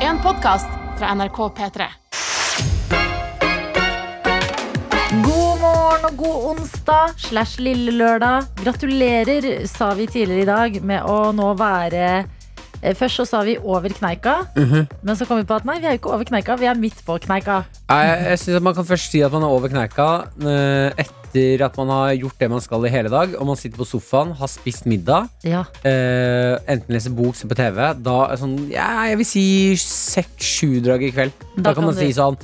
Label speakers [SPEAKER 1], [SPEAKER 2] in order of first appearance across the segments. [SPEAKER 1] en podkast fra NRK P3.
[SPEAKER 2] God morgen og god onsdag slash lille lørdag. Gratulerer, sa vi tidligere i dag, med å nå være eh, Først så sa vi over kneika,
[SPEAKER 3] Mhm.
[SPEAKER 2] men så kom vi på at nei, vi er jo ikke over kneika, vi er midt på kneika.
[SPEAKER 3] Jeg, jeg synes at Man kan først si at man er over kneika eh, etter at man har gjort det man skal i hele dag, og man sitter på sofaen, har spist middag,
[SPEAKER 2] Ja,
[SPEAKER 3] eh, enten leser bok, ser på TV. Da er det sånn, ja, jeg vil si seks-sju drag i kveld. Da,
[SPEAKER 2] Da kan
[SPEAKER 3] kan man
[SPEAKER 2] du-
[SPEAKER 3] si sånn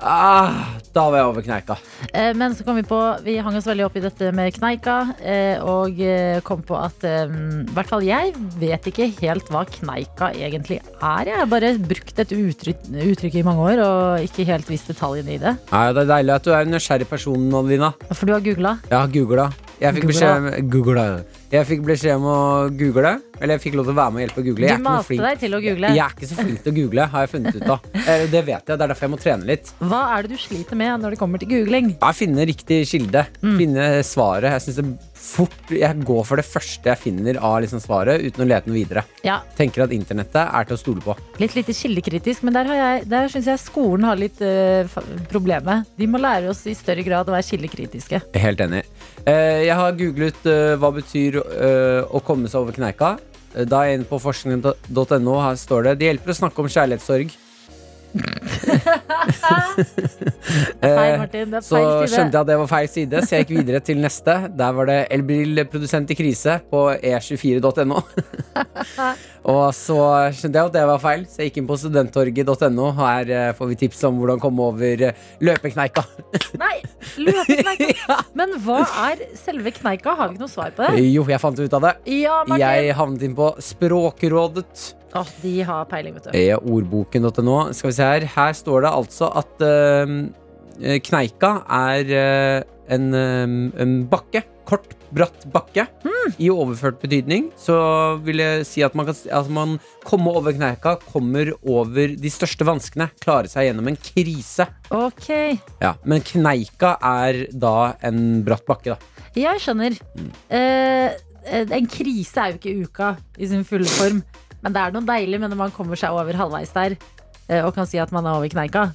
[SPEAKER 3] ah, Da var jeg over kneika.
[SPEAKER 2] eh, Men så kom vi på Vi hang oss veldig opp i dette med kneika, eh, og eh, kom på at eh, i hvert fall jeg vet ikke helt hva kneika egentlig er. Jeg har bare brukt et uttrykk, uttrykk i mange år og ikke helt visst detaljene i det.
[SPEAKER 3] Nei, det er deilig at du er en nysgjerrig person, Adelina.
[SPEAKER 2] For du har googla?
[SPEAKER 3] Jeg har googla. Jeg fikk beskjed, om- googlet. Jeg fikk beskjed om å google. Eller jeg fikk lov til å være med og hjelpe å google. Jeg er
[SPEAKER 2] Du
[SPEAKER 3] ikke noe
[SPEAKER 2] maste
[SPEAKER 3] flink-
[SPEAKER 2] deg til å google.
[SPEAKER 3] Jeg er ikke så flink til å google, har jeg funnet ut av. Eh, Det vet jeg, det er derfor jeg må trene litt.
[SPEAKER 2] Hva er det du sliter med når det kommer til googling?
[SPEAKER 3] Jeg finner riktig kilde. Finne svaret. Jeg synes det fort Jeg går for det første jeg finner av liksom svaret, uten å lete noe videre.
[SPEAKER 2] Ja,
[SPEAKER 3] Tenker at internettet er til å stole på.
[SPEAKER 2] Litt lite kildekritisk, men der, har jeg- der syns jeg skolen har litt eh, fa- problemet. De må lære oss i større grad å være kildekritiske.
[SPEAKER 3] Helt enig. Eh, Jeg har googlet eh, hva betyr eh, å komme seg over kneika. Eh, Da er jeg inne på forskning.no. Her står det Det hjelper å snakke om kjærlighetssorg.
[SPEAKER 2] Feil, Martin. Det er
[SPEAKER 3] Eh, Så
[SPEAKER 2] feil side.
[SPEAKER 3] skjønte jeg at det var feil side, så jeg gikk videre til neste. Der var det elbilprodusent i krise på e e24.no. og så skjønte jeg at det var feil, så jeg gikk inn på studenttorget.no. Her eh, får vi tips om hvordan komme over eh, løpekneika.
[SPEAKER 2] Nei, løpekneika! Men hva er selve kneika? Har vi ikke noe svar på det?
[SPEAKER 3] jo, jeg fant ut av det.
[SPEAKER 2] Ja, Martin.
[SPEAKER 3] Jeg havnet inn på Språkrådet.
[SPEAKER 2] Åh, de har peiling, vet du.
[SPEAKER 3] E ordboken.no. Skal vi se her. Her står det altså at eh, kneika er eh, en, eh, en bakke. Kort, bratt bakke. I overført betydning så vil jeg si at man kan s- at man komme over kneika, kommer over de største vanskene. Klare seg gjennom en krise.
[SPEAKER 2] Ok,
[SPEAKER 3] Ja. Men kneika er da en bratt bakke, da.
[SPEAKER 2] jeg skjønner.
[SPEAKER 3] Mm.
[SPEAKER 2] Eh, en krise er jo ikke uka i sin fulle form, men det er noe deilig med når man kommer seg over halvveis der eh, og kan si at man er over kneika.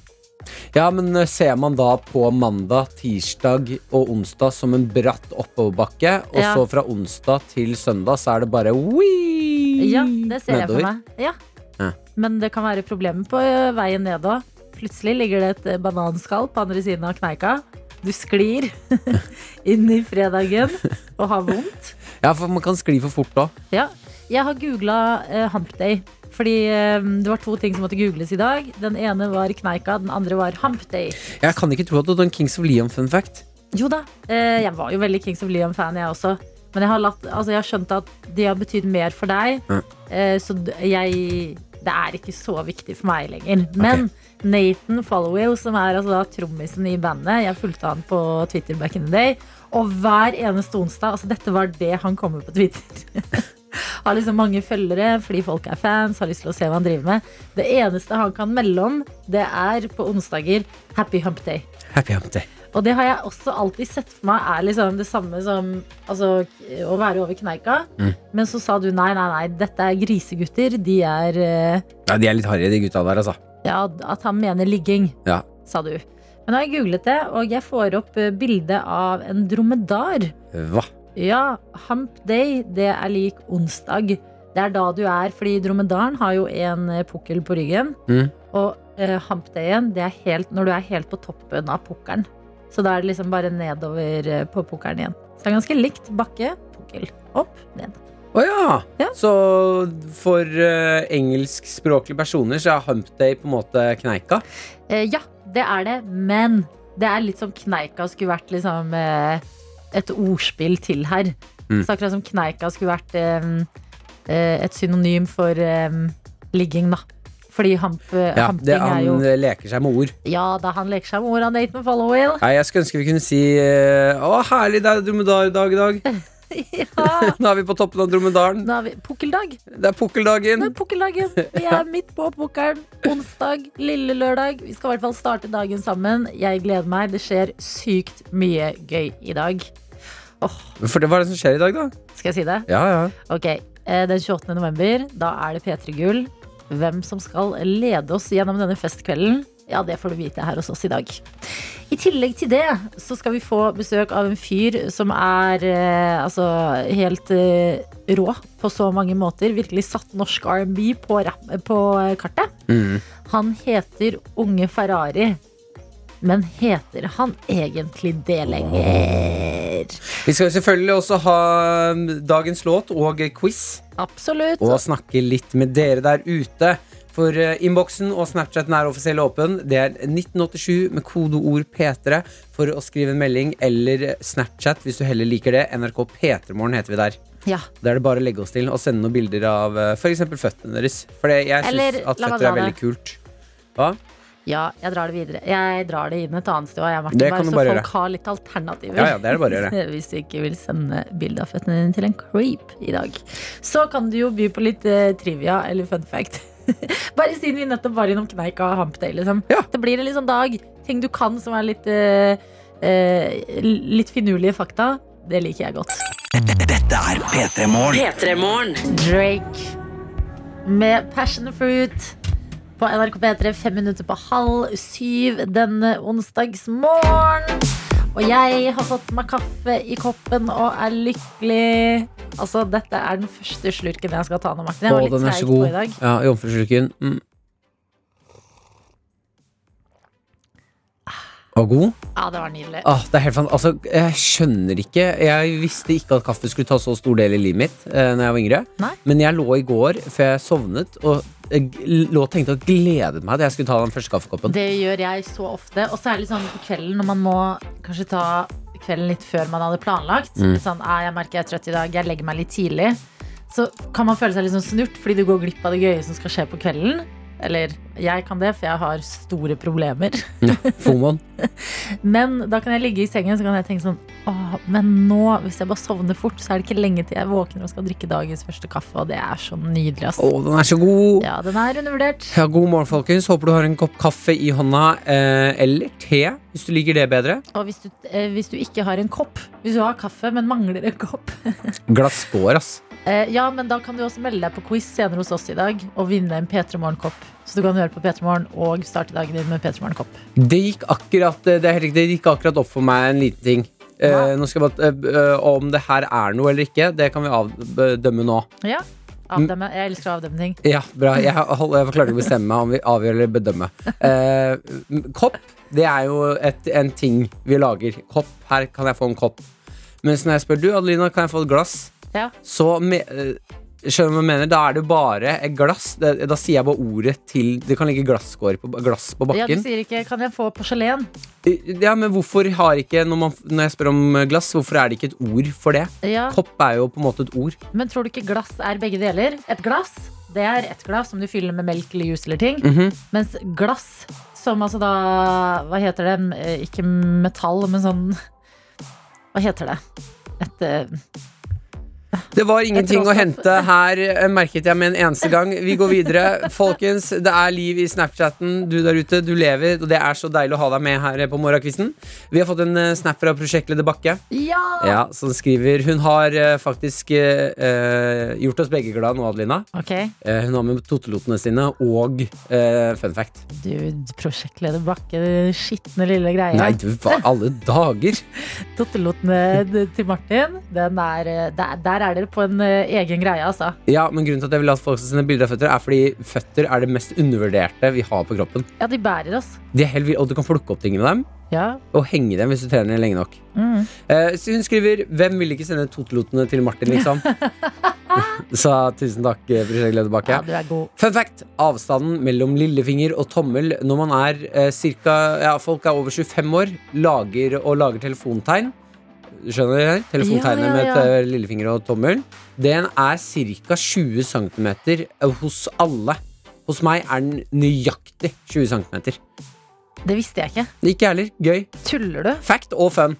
[SPEAKER 3] Ja, men eh, ser man da på mandag, tirsdag og onsdag som en bratt oppoverbakke, og
[SPEAKER 2] Ja.
[SPEAKER 3] så fra onsdag til søndag så er det bare wii
[SPEAKER 2] Ja, det ser jeg for
[SPEAKER 3] nedover.
[SPEAKER 2] meg. Ja.
[SPEAKER 3] Ja.
[SPEAKER 2] Men det kan være problemer på ø, veien ned òg. Plutselig ligger det et ø, bananskall på andre siden av kneika. Du sklir inn i fredagen og har vondt.
[SPEAKER 3] Ja, for man kan skli for fort òg.
[SPEAKER 2] Ja. Jeg har googla Hump Day. Fordi ø, det var to ting som måtte googles i dag. Den ene var kneika, den andre var Hump Day.
[SPEAKER 3] Jeg kan ikke tro at du hadde en Kings of Leon-fun fact.
[SPEAKER 2] Jo da, eh, jeg var jo veldig Kings of Leon-fan, jeg også. Men jeg har, latt, altså jeg har skjønt at de har betydd mer for deg.
[SPEAKER 3] Mm.
[SPEAKER 2] Eh, så d- jeg Det er ikke så viktig for meg lenger. Men Nathan Followill, som er altså da trommisen i bandet, jeg fulgte han på Twitter back in the day. Og hver eneste onsdag Altså, dette var det han kom med på Twitter. Har liksom mange følgere fordi folk er fans, har lyst til å se hva han driver med. Det eneste han kan melde om, det er på onsdager Happy Hump Day.
[SPEAKER 3] Happy hump day.
[SPEAKER 2] Og det har jeg også alltid sett for meg er liksom det samme som altså, k- å være over kneika.
[SPEAKER 3] Mm.
[SPEAKER 2] Men så sa du nei, nei, nei, dette er grisegutter. De er eh,
[SPEAKER 3] Ja, de er litt harry, de gutta der, altså.
[SPEAKER 2] Ja, at han mener ligging,
[SPEAKER 3] Ja.
[SPEAKER 2] sa du. Men nå har jeg googlet det, og jeg får opp eh, bilde av en dromedar.
[SPEAKER 3] Hva?
[SPEAKER 2] Ja, hump day, det er lik onsdag. Det er da du er, fordi dromedaren har jo en eh, pukkel på ryggen.
[SPEAKER 3] Mm.
[SPEAKER 2] Og eh, hump dayen, det er helt, når du er helt på toppen av pukkelen. Så da er det liksom bare nedover eh, på pukkelen igjen. Så det er ganske likt bakke, pukkel, opp, ned.
[SPEAKER 3] Å ja.
[SPEAKER 2] Ja.
[SPEAKER 3] Så for eh, engelskspråklige personer så er hump day på en måte kneika?
[SPEAKER 2] Eh, ja, det er det, men det er litt som kneika skulle vært liksom eh, et ordspill til her.
[SPEAKER 3] Mm.
[SPEAKER 2] Så akkurat som kneika skulle vært eh, eh, et synonym for eh, ligging, da. Fordi hamp, eh,
[SPEAKER 3] Ja, det,
[SPEAKER 2] hamping er jo
[SPEAKER 3] han eh, leker seg med ord.
[SPEAKER 2] Ja da, han leker seg med ordene Nathan Followill.
[SPEAKER 3] Nei, jeg skulle ønske vi kunne si eh, Å, herlig, det er dromedardag i dag.
[SPEAKER 2] ja.
[SPEAKER 3] Nå er vi på toppen av dromedaren.
[SPEAKER 2] Nå har vi pukkeldag.
[SPEAKER 3] Det er pukkeldagen.
[SPEAKER 2] Det er pukkeldagen. Vi er midt på pukkelen. Onsdag, lille lørdag. Vi skal i hvert fall starte dagen sammen. Jeg gleder meg. Det skjer sykt mye gøy i dag. Åh,
[SPEAKER 3] For det, hva er det som skjer i dag, da?
[SPEAKER 2] skal jeg si det?
[SPEAKER 3] Ja, ja.
[SPEAKER 2] Ok, eh, den 28. november, da er det P3 Gull. Hvem som skal lede oss gjennom denne festkvelden, ja, det får du vite her hos oss i dag. I tillegg til det så skal vi få besøk av en fyr som er eh, altså helt eh, rå på så mange måter. Virkelig satt norsk R&B på, rap- på eh, kartet.
[SPEAKER 3] Mm.
[SPEAKER 2] Han heter Unge Ferrari. Men heter han egentlig det lenger?
[SPEAKER 3] Vi skal jo selvfølgelig også ha mm, dagens låt og quiz.
[SPEAKER 2] Absolutt.
[SPEAKER 3] og snakke litt med dere der ute. For eh, innboksen og Snapchaten er offisiell åpen. Det er 1987 med kodeord P3 for å skrive en melding eller Snapchat hvis du heller liker det. NRK P3morgen heter vi der.
[SPEAKER 2] Ja.
[SPEAKER 3] Da er det bare å legge oss til og sende noen bilder av f.eks. føttene deres. For det- jeg syns
[SPEAKER 2] Eller,
[SPEAKER 3] at
[SPEAKER 2] la meg
[SPEAKER 3] føtter
[SPEAKER 2] dra
[SPEAKER 3] er veldig kult. Hva?
[SPEAKER 2] ja, jeg drar det videre. Jeg drar det inn et annet sted. og Jeg, Martin,
[SPEAKER 3] Det
[SPEAKER 2] bare,
[SPEAKER 3] kan du
[SPEAKER 2] så
[SPEAKER 3] bare
[SPEAKER 2] folk
[SPEAKER 3] gjøre.
[SPEAKER 2] har litt alternativer.
[SPEAKER 3] Ja, ja, det er det bare å gjøre.
[SPEAKER 2] Hvis du ikke vil sende bilde av føttene dine til en creep i dag. Så kan du jo by på litt eh, trivia eller fun fact. bare siden vi nettopp var innom Kneika og Hump Day. Liksom.
[SPEAKER 3] Ja.
[SPEAKER 2] Det blir en litt sånn dag. Ting du kan som er litt, eh, eh, litt finurlige fakta. Det liker jeg godt. Drake med Passion Fruit på NRK P3 fem minutter på halv syv denne onsdagsmorgen. Og jeg har fått meg kaffe i koppen og er lykkelig. Altså, Dette er den første slurken jeg skal ta nå, Martin. Jeg
[SPEAKER 3] Å,
[SPEAKER 2] var litt
[SPEAKER 3] den er
[SPEAKER 2] treig
[SPEAKER 3] så
[SPEAKER 2] på
[SPEAKER 3] god.
[SPEAKER 2] i dag.
[SPEAKER 3] Ja, Jomfruslurken. Mm.
[SPEAKER 2] Ah.
[SPEAKER 3] Var god?
[SPEAKER 2] Ja, det var nydelig.
[SPEAKER 3] Ah, det er helt fan... altså, jeg skjønner ikke Jeg visste ikke at kaffe skulle ta så stor del i livet mitt eh, Når jeg var yngre
[SPEAKER 2] Nei.
[SPEAKER 3] Men jeg lå i går før jeg sovnet Og eh, g- lå og tenkte og gledet meg Til jeg skulle ta den første kaffekoppen
[SPEAKER 2] Det gjør jeg så ofte, og særlig sånn på kvelden når man må kanskje ta kvelden litt før man hadde planlagt. Sånn, ah, jeg merker jeg er trøtt i dag, jeg legger meg litt tidlig. Så kan man føle seg litt sånn snurt fordi du går glipp av det gøye som skal skje på kvelden. Eller jeg kan det, for jeg har store problemer.
[SPEAKER 3] Fomoen
[SPEAKER 2] Men da kan jeg ligge i sengen så kan jeg tenke sånn Åh, men nå, hvis jeg bare sovner fort, så er det ikke lenge til jeg våkner og skal drikke dagens første kaffe, og det er så nydelig, ass.
[SPEAKER 3] Å, den er så god ja.
[SPEAKER 2] Ja, den er undervurdert.
[SPEAKER 3] god morgen folkens Håper du har en kopp kaffe i hånda eh, Eller te, hvis du liker det bedre
[SPEAKER 2] Og hvis du, eh, hvis du ikke har en kopp, hvis du har kaffe, men mangler en kopp
[SPEAKER 3] Glass går, ass
[SPEAKER 2] Eh, ja, men da kan du også melde deg på quiz senere hos oss i dag og vinne en P3 Morgen-kopp. Så du kan høre på P3 Morgen og starte dagen din med P3 Morgen-kopp.
[SPEAKER 3] Det gikk akkurat eh, Det er helt riktig, det gikk akkurat opp for meg en liten ting Eh,
[SPEAKER 2] Hva?
[SPEAKER 3] Nå skal jeg bare eh, eh, Om det her er noe eller ikke Det kan vi avdømme nå
[SPEAKER 2] Ja. Avdemme. Jeg elsker å avdemme ting.
[SPEAKER 3] Ja, bra. Jeg, hold, jeg klarte ikke å bestemme meg om vi avgjør eller bedømme. Eh, m- kopp, det er jo et, en ting vi lager. Kopp, her kan jeg få en kopp. Mens når jeg spør du, Adelina, kan jeg få et glass,
[SPEAKER 2] Ja.
[SPEAKER 3] så me, eh, Skjønner du hva jeg mener? Da er det bare et glass. Det, da sier jeg bare ordet til Det kan ligge glasskår på, glass på
[SPEAKER 2] ja, du
[SPEAKER 3] bakken.
[SPEAKER 2] sier ikke 'kan jeg få porselen'?
[SPEAKER 3] Ja, men hvorfor har ikke når, man, når jeg spør om glass, hvorfor er det ikke et ord for det?
[SPEAKER 2] Ja,
[SPEAKER 3] Kopp er jo på en måte et ord.
[SPEAKER 2] Men tror du ikke glass er begge deler? Et glass det er et glass som du fyller med melk eller juice eller ting.
[SPEAKER 3] Mhm.
[SPEAKER 2] Mens glass, som altså da Hva heter det? Eh, Ikke metall, men sånn Hva heter det? Et eh,
[SPEAKER 3] Det var ingenting å
[SPEAKER 2] råstoff.
[SPEAKER 3] hente her, eh, merket jeg med en eneste gang. Vi går videre. Folkens, det er liv i Snapchatten. Du der ute, du lever, og det er så deilig å ha deg med her eh, på morgenkvisten. Vi har fått en eh, snap fra prosjektleder Bakke,
[SPEAKER 2] Ja!
[SPEAKER 3] ja, som skriver Hun har eh, faktisk eh, eh, gjort oss begge glad nå, Adelina.
[SPEAKER 2] Ok.
[SPEAKER 3] Eh, hun har med totelotene sine og eh, fun fact.
[SPEAKER 2] Du, prosjektleder Bakke, den skitne lille greia.
[SPEAKER 3] Nei, du, hva alle dager!
[SPEAKER 2] Tottelotene eh, d- til Martin, den er, eh, der, der er dere på en eh, egen greie, altså.
[SPEAKER 3] Ja, men Grunnen til at jeg vil at folk skal sende bilder av føtter, er fordi føtter er det mest undervurderte vi har på kroppen.
[SPEAKER 2] Ja, de bærer oss.
[SPEAKER 3] De er helt, vild- og du kan plukke opp ting med dem.
[SPEAKER 2] Ja.
[SPEAKER 3] og henge dem hvis du trener lenge nok.
[SPEAKER 2] Mm.
[SPEAKER 3] Eh, så hun skriver 'Hvem vil ikke sende totelotene til Martin', liksom? så tusen takk, eh, prosjektleder Bakke.
[SPEAKER 2] ja, du er god.
[SPEAKER 3] Fun fact avstanden mellom lillefinger og tommel når man er eh, cirka, ja, folk er over 25 år, lager og lager telefontegn. Skjønner dere? Telefontegnet
[SPEAKER 2] Ja, ja, ja.
[SPEAKER 3] med eh, lillefinger og tommel. Den er ca. 20 cm eh, hos alle. Hos meg er den nøyaktig 20 cm.
[SPEAKER 2] Det visste jeg ikke.
[SPEAKER 3] Ikke jeg heller. Gøy.
[SPEAKER 2] Tuller du?
[SPEAKER 3] Fact og fun.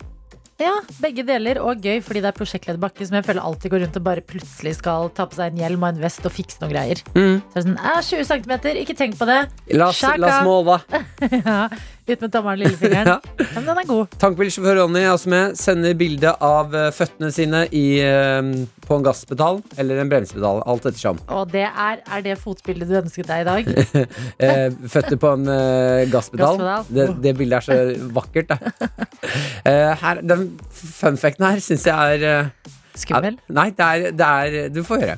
[SPEAKER 2] Ja, begge deler, og gøy, fordi det er prosjektleder Bakke som jeg føler alltid går rundt og bare plutselig skal ta på seg en hjelm og en vest og fikse noen greier. Så
[SPEAKER 3] Mm.
[SPEAKER 2] er det sånn, «Æ, 20 cm, ikke tenk på det.
[SPEAKER 3] La oss,
[SPEAKER 2] Shaka.
[SPEAKER 3] la oss måle.
[SPEAKER 2] ja, ut med tommelen og lillefingeren.
[SPEAKER 3] Ja.
[SPEAKER 2] ja. Men den er god.
[SPEAKER 3] Tankbilsjåfør Ronny er også med. Sender bilde av eh, føttene sine i eh, på en gasspedal eller en bremsepedal. Alt ettersom.
[SPEAKER 2] Og det er, er det fotbildet du ønsket deg i dag?
[SPEAKER 3] Eh, føtter på en eh, gasspedal.
[SPEAKER 2] Gasspedal.
[SPEAKER 3] Det, det bildet er så vakkert, det. Eh, her, den funfacten her syns jeg er eh,
[SPEAKER 2] Skummel.
[SPEAKER 3] Ja, Nei, det er, det er Du får høre.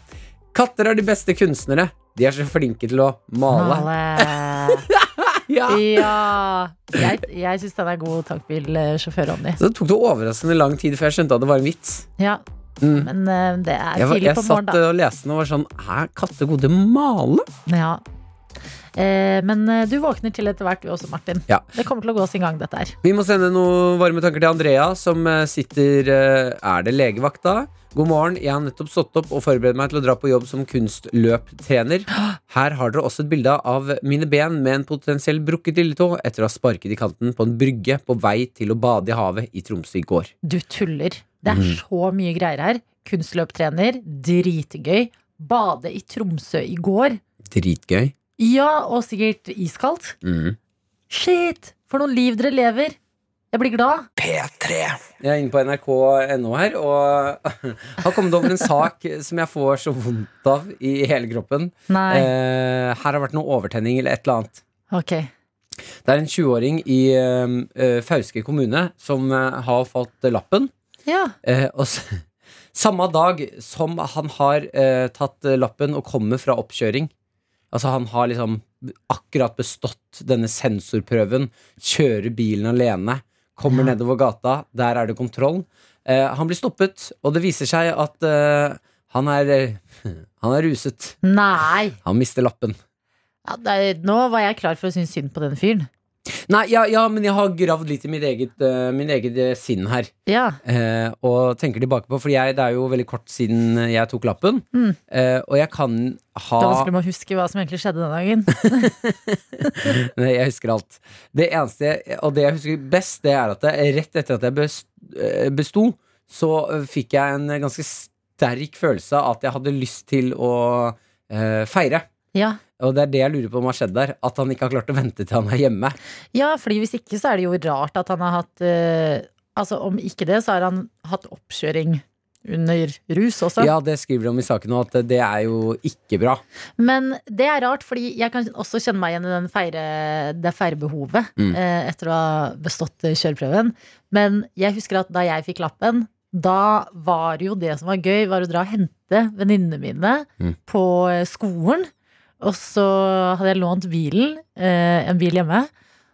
[SPEAKER 3] Katter er de beste kunstnere. De er så flinke til å male.
[SPEAKER 2] Male.
[SPEAKER 3] Ja.
[SPEAKER 2] Ja. Jeg, jeg syns den er god tankbilsjåfør, Ronny.
[SPEAKER 3] Så det tok det overraskende lang tid før jeg skjønte at det var en vits.
[SPEAKER 2] Ja,
[SPEAKER 3] Mm.
[SPEAKER 2] men eh, det er
[SPEAKER 3] Jeg, var-
[SPEAKER 2] tidlig
[SPEAKER 3] jeg
[SPEAKER 2] på morgenen,
[SPEAKER 3] satt
[SPEAKER 2] da.
[SPEAKER 3] og leste den og var sånn Er katter gode til å male?
[SPEAKER 2] Ja. Eh, Men eh, du våkner til etter hvert, du også, Martin.
[SPEAKER 3] Ja.
[SPEAKER 2] Det kommer til å gå sin gang, dette her.
[SPEAKER 3] Vi må sende noen varme tanker til Andrea, som eh, sitter eh, Er det legevakta? God morgen. Jeg har nettopp stått opp og forberedt meg til å dra på jobb som kunstløptrener. Her har dere også et bilde av mine ben med en potensiell brukket lilletå etter å ha sparket i kanten på en brygge på vei til å bade i havet i Tromsø i går.
[SPEAKER 2] Du tuller. Det er
[SPEAKER 3] Mm.
[SPEAKER 2] så mye greier her. Kunstløptrener, dritgøy. Bade i Tromsø i går.
[SPEAKER 3] Dritgøy.
[SPEAKER 2] Ja, og sikkert iskaldt.
[SPEAKER 3] Mm.
[SPEAKER 2] Shit! For noen liv dere lever. Jeg blir glad.
[SPEAKER 3] Jeg er inne på nrk.no her og har kommet over en sak som jeg får så vondt av i hele kroppen.
[SPEAKER 2] Nei.
[SPEAKER 3] Eh, her har vært noe overtenning eller et eller annet.
[SPEAKER 2] Ok.
[SPEAKER 3] Det er en 20-åring i eh, eh, Fauske kommune som eh, har fått lappen.
[SPEAKER 2] Ja.
[SPEAKER 3] Eh, og s samme dag som han har eh, tatt eh, lappen og kommer fra oppkjøring Altså han har liksom akkurat bestått denne sensorprøven, kjører bilen alene, kommer
[SPEAKER 2] Ja.
[SPEAKER 3] nedover gata, der er det kontroll. Eh, han blir stoppet, og det viser seg at eh, han er eh, Han er ruset.
[SPEAKER 2] Nei.
[SPEAKER 3] Han mister lappen.
[SPEAKER 2] Ja, det er, nå var jeg klar for å synes synd på den fyren.
[SPEAKER 3] Nei, ja, ja men jeg har gravd litt i mitt eget, eh, min eget eh, sinn her.
[SPEAKER 2] Ja.
[SPEAKER 3] eh, og tenker tilbake på For jeg, det er jo veldig kort siden jeg tok lappen.
[SPEAKER 2] Mm.
[SPEAKER 3] eh, og jeg kan ha
[SPEAKER 2] Det er vanskelig med å huske hva som egentlig skjedde den dagen.
[SPEAKER 3] Nei, Jeg husker alt. Det eneste og det jeg husker best, det er at jeg, rett etter at jeg bes- eh, besto, så eh, fikk jeg en ganske sterk følelse av at jeg hadde lyst til å eh, feire.
[SPEAKER 2] Ja.
[SPEAKER 3] Og det er det jeg lurer på om har skjedd der. At han ikke har klart å vente til han er hjemme.
[SPEAKER 2] ja, fordi hvis ikke så er det jo rart at han har hatt eh, Altså om ikke det, så har han hatt oppkjøring under rus også.
[SPEAKER 3] Ja, det skriver de om i saken nå, at det er jo ikke bra.
[SPEAKER 2] Men det er rart, fordi jeg kan også kjenne meg igjen i den feire, det feirebehovet
[SPEAKER 3] Mm.
[SPEAKER 2] eh, etter å ha bestått eh, kjøreprøven. Men jeg husker at da jeg fikk lappen, da var jo det som var gøy, var å dra og hente venninnene mine
[SPEAKER 3] Mm.
[SPEAKER 2] på eh, skolen. Og så hadde jeg lånt bilen, eh, en bil hjemme.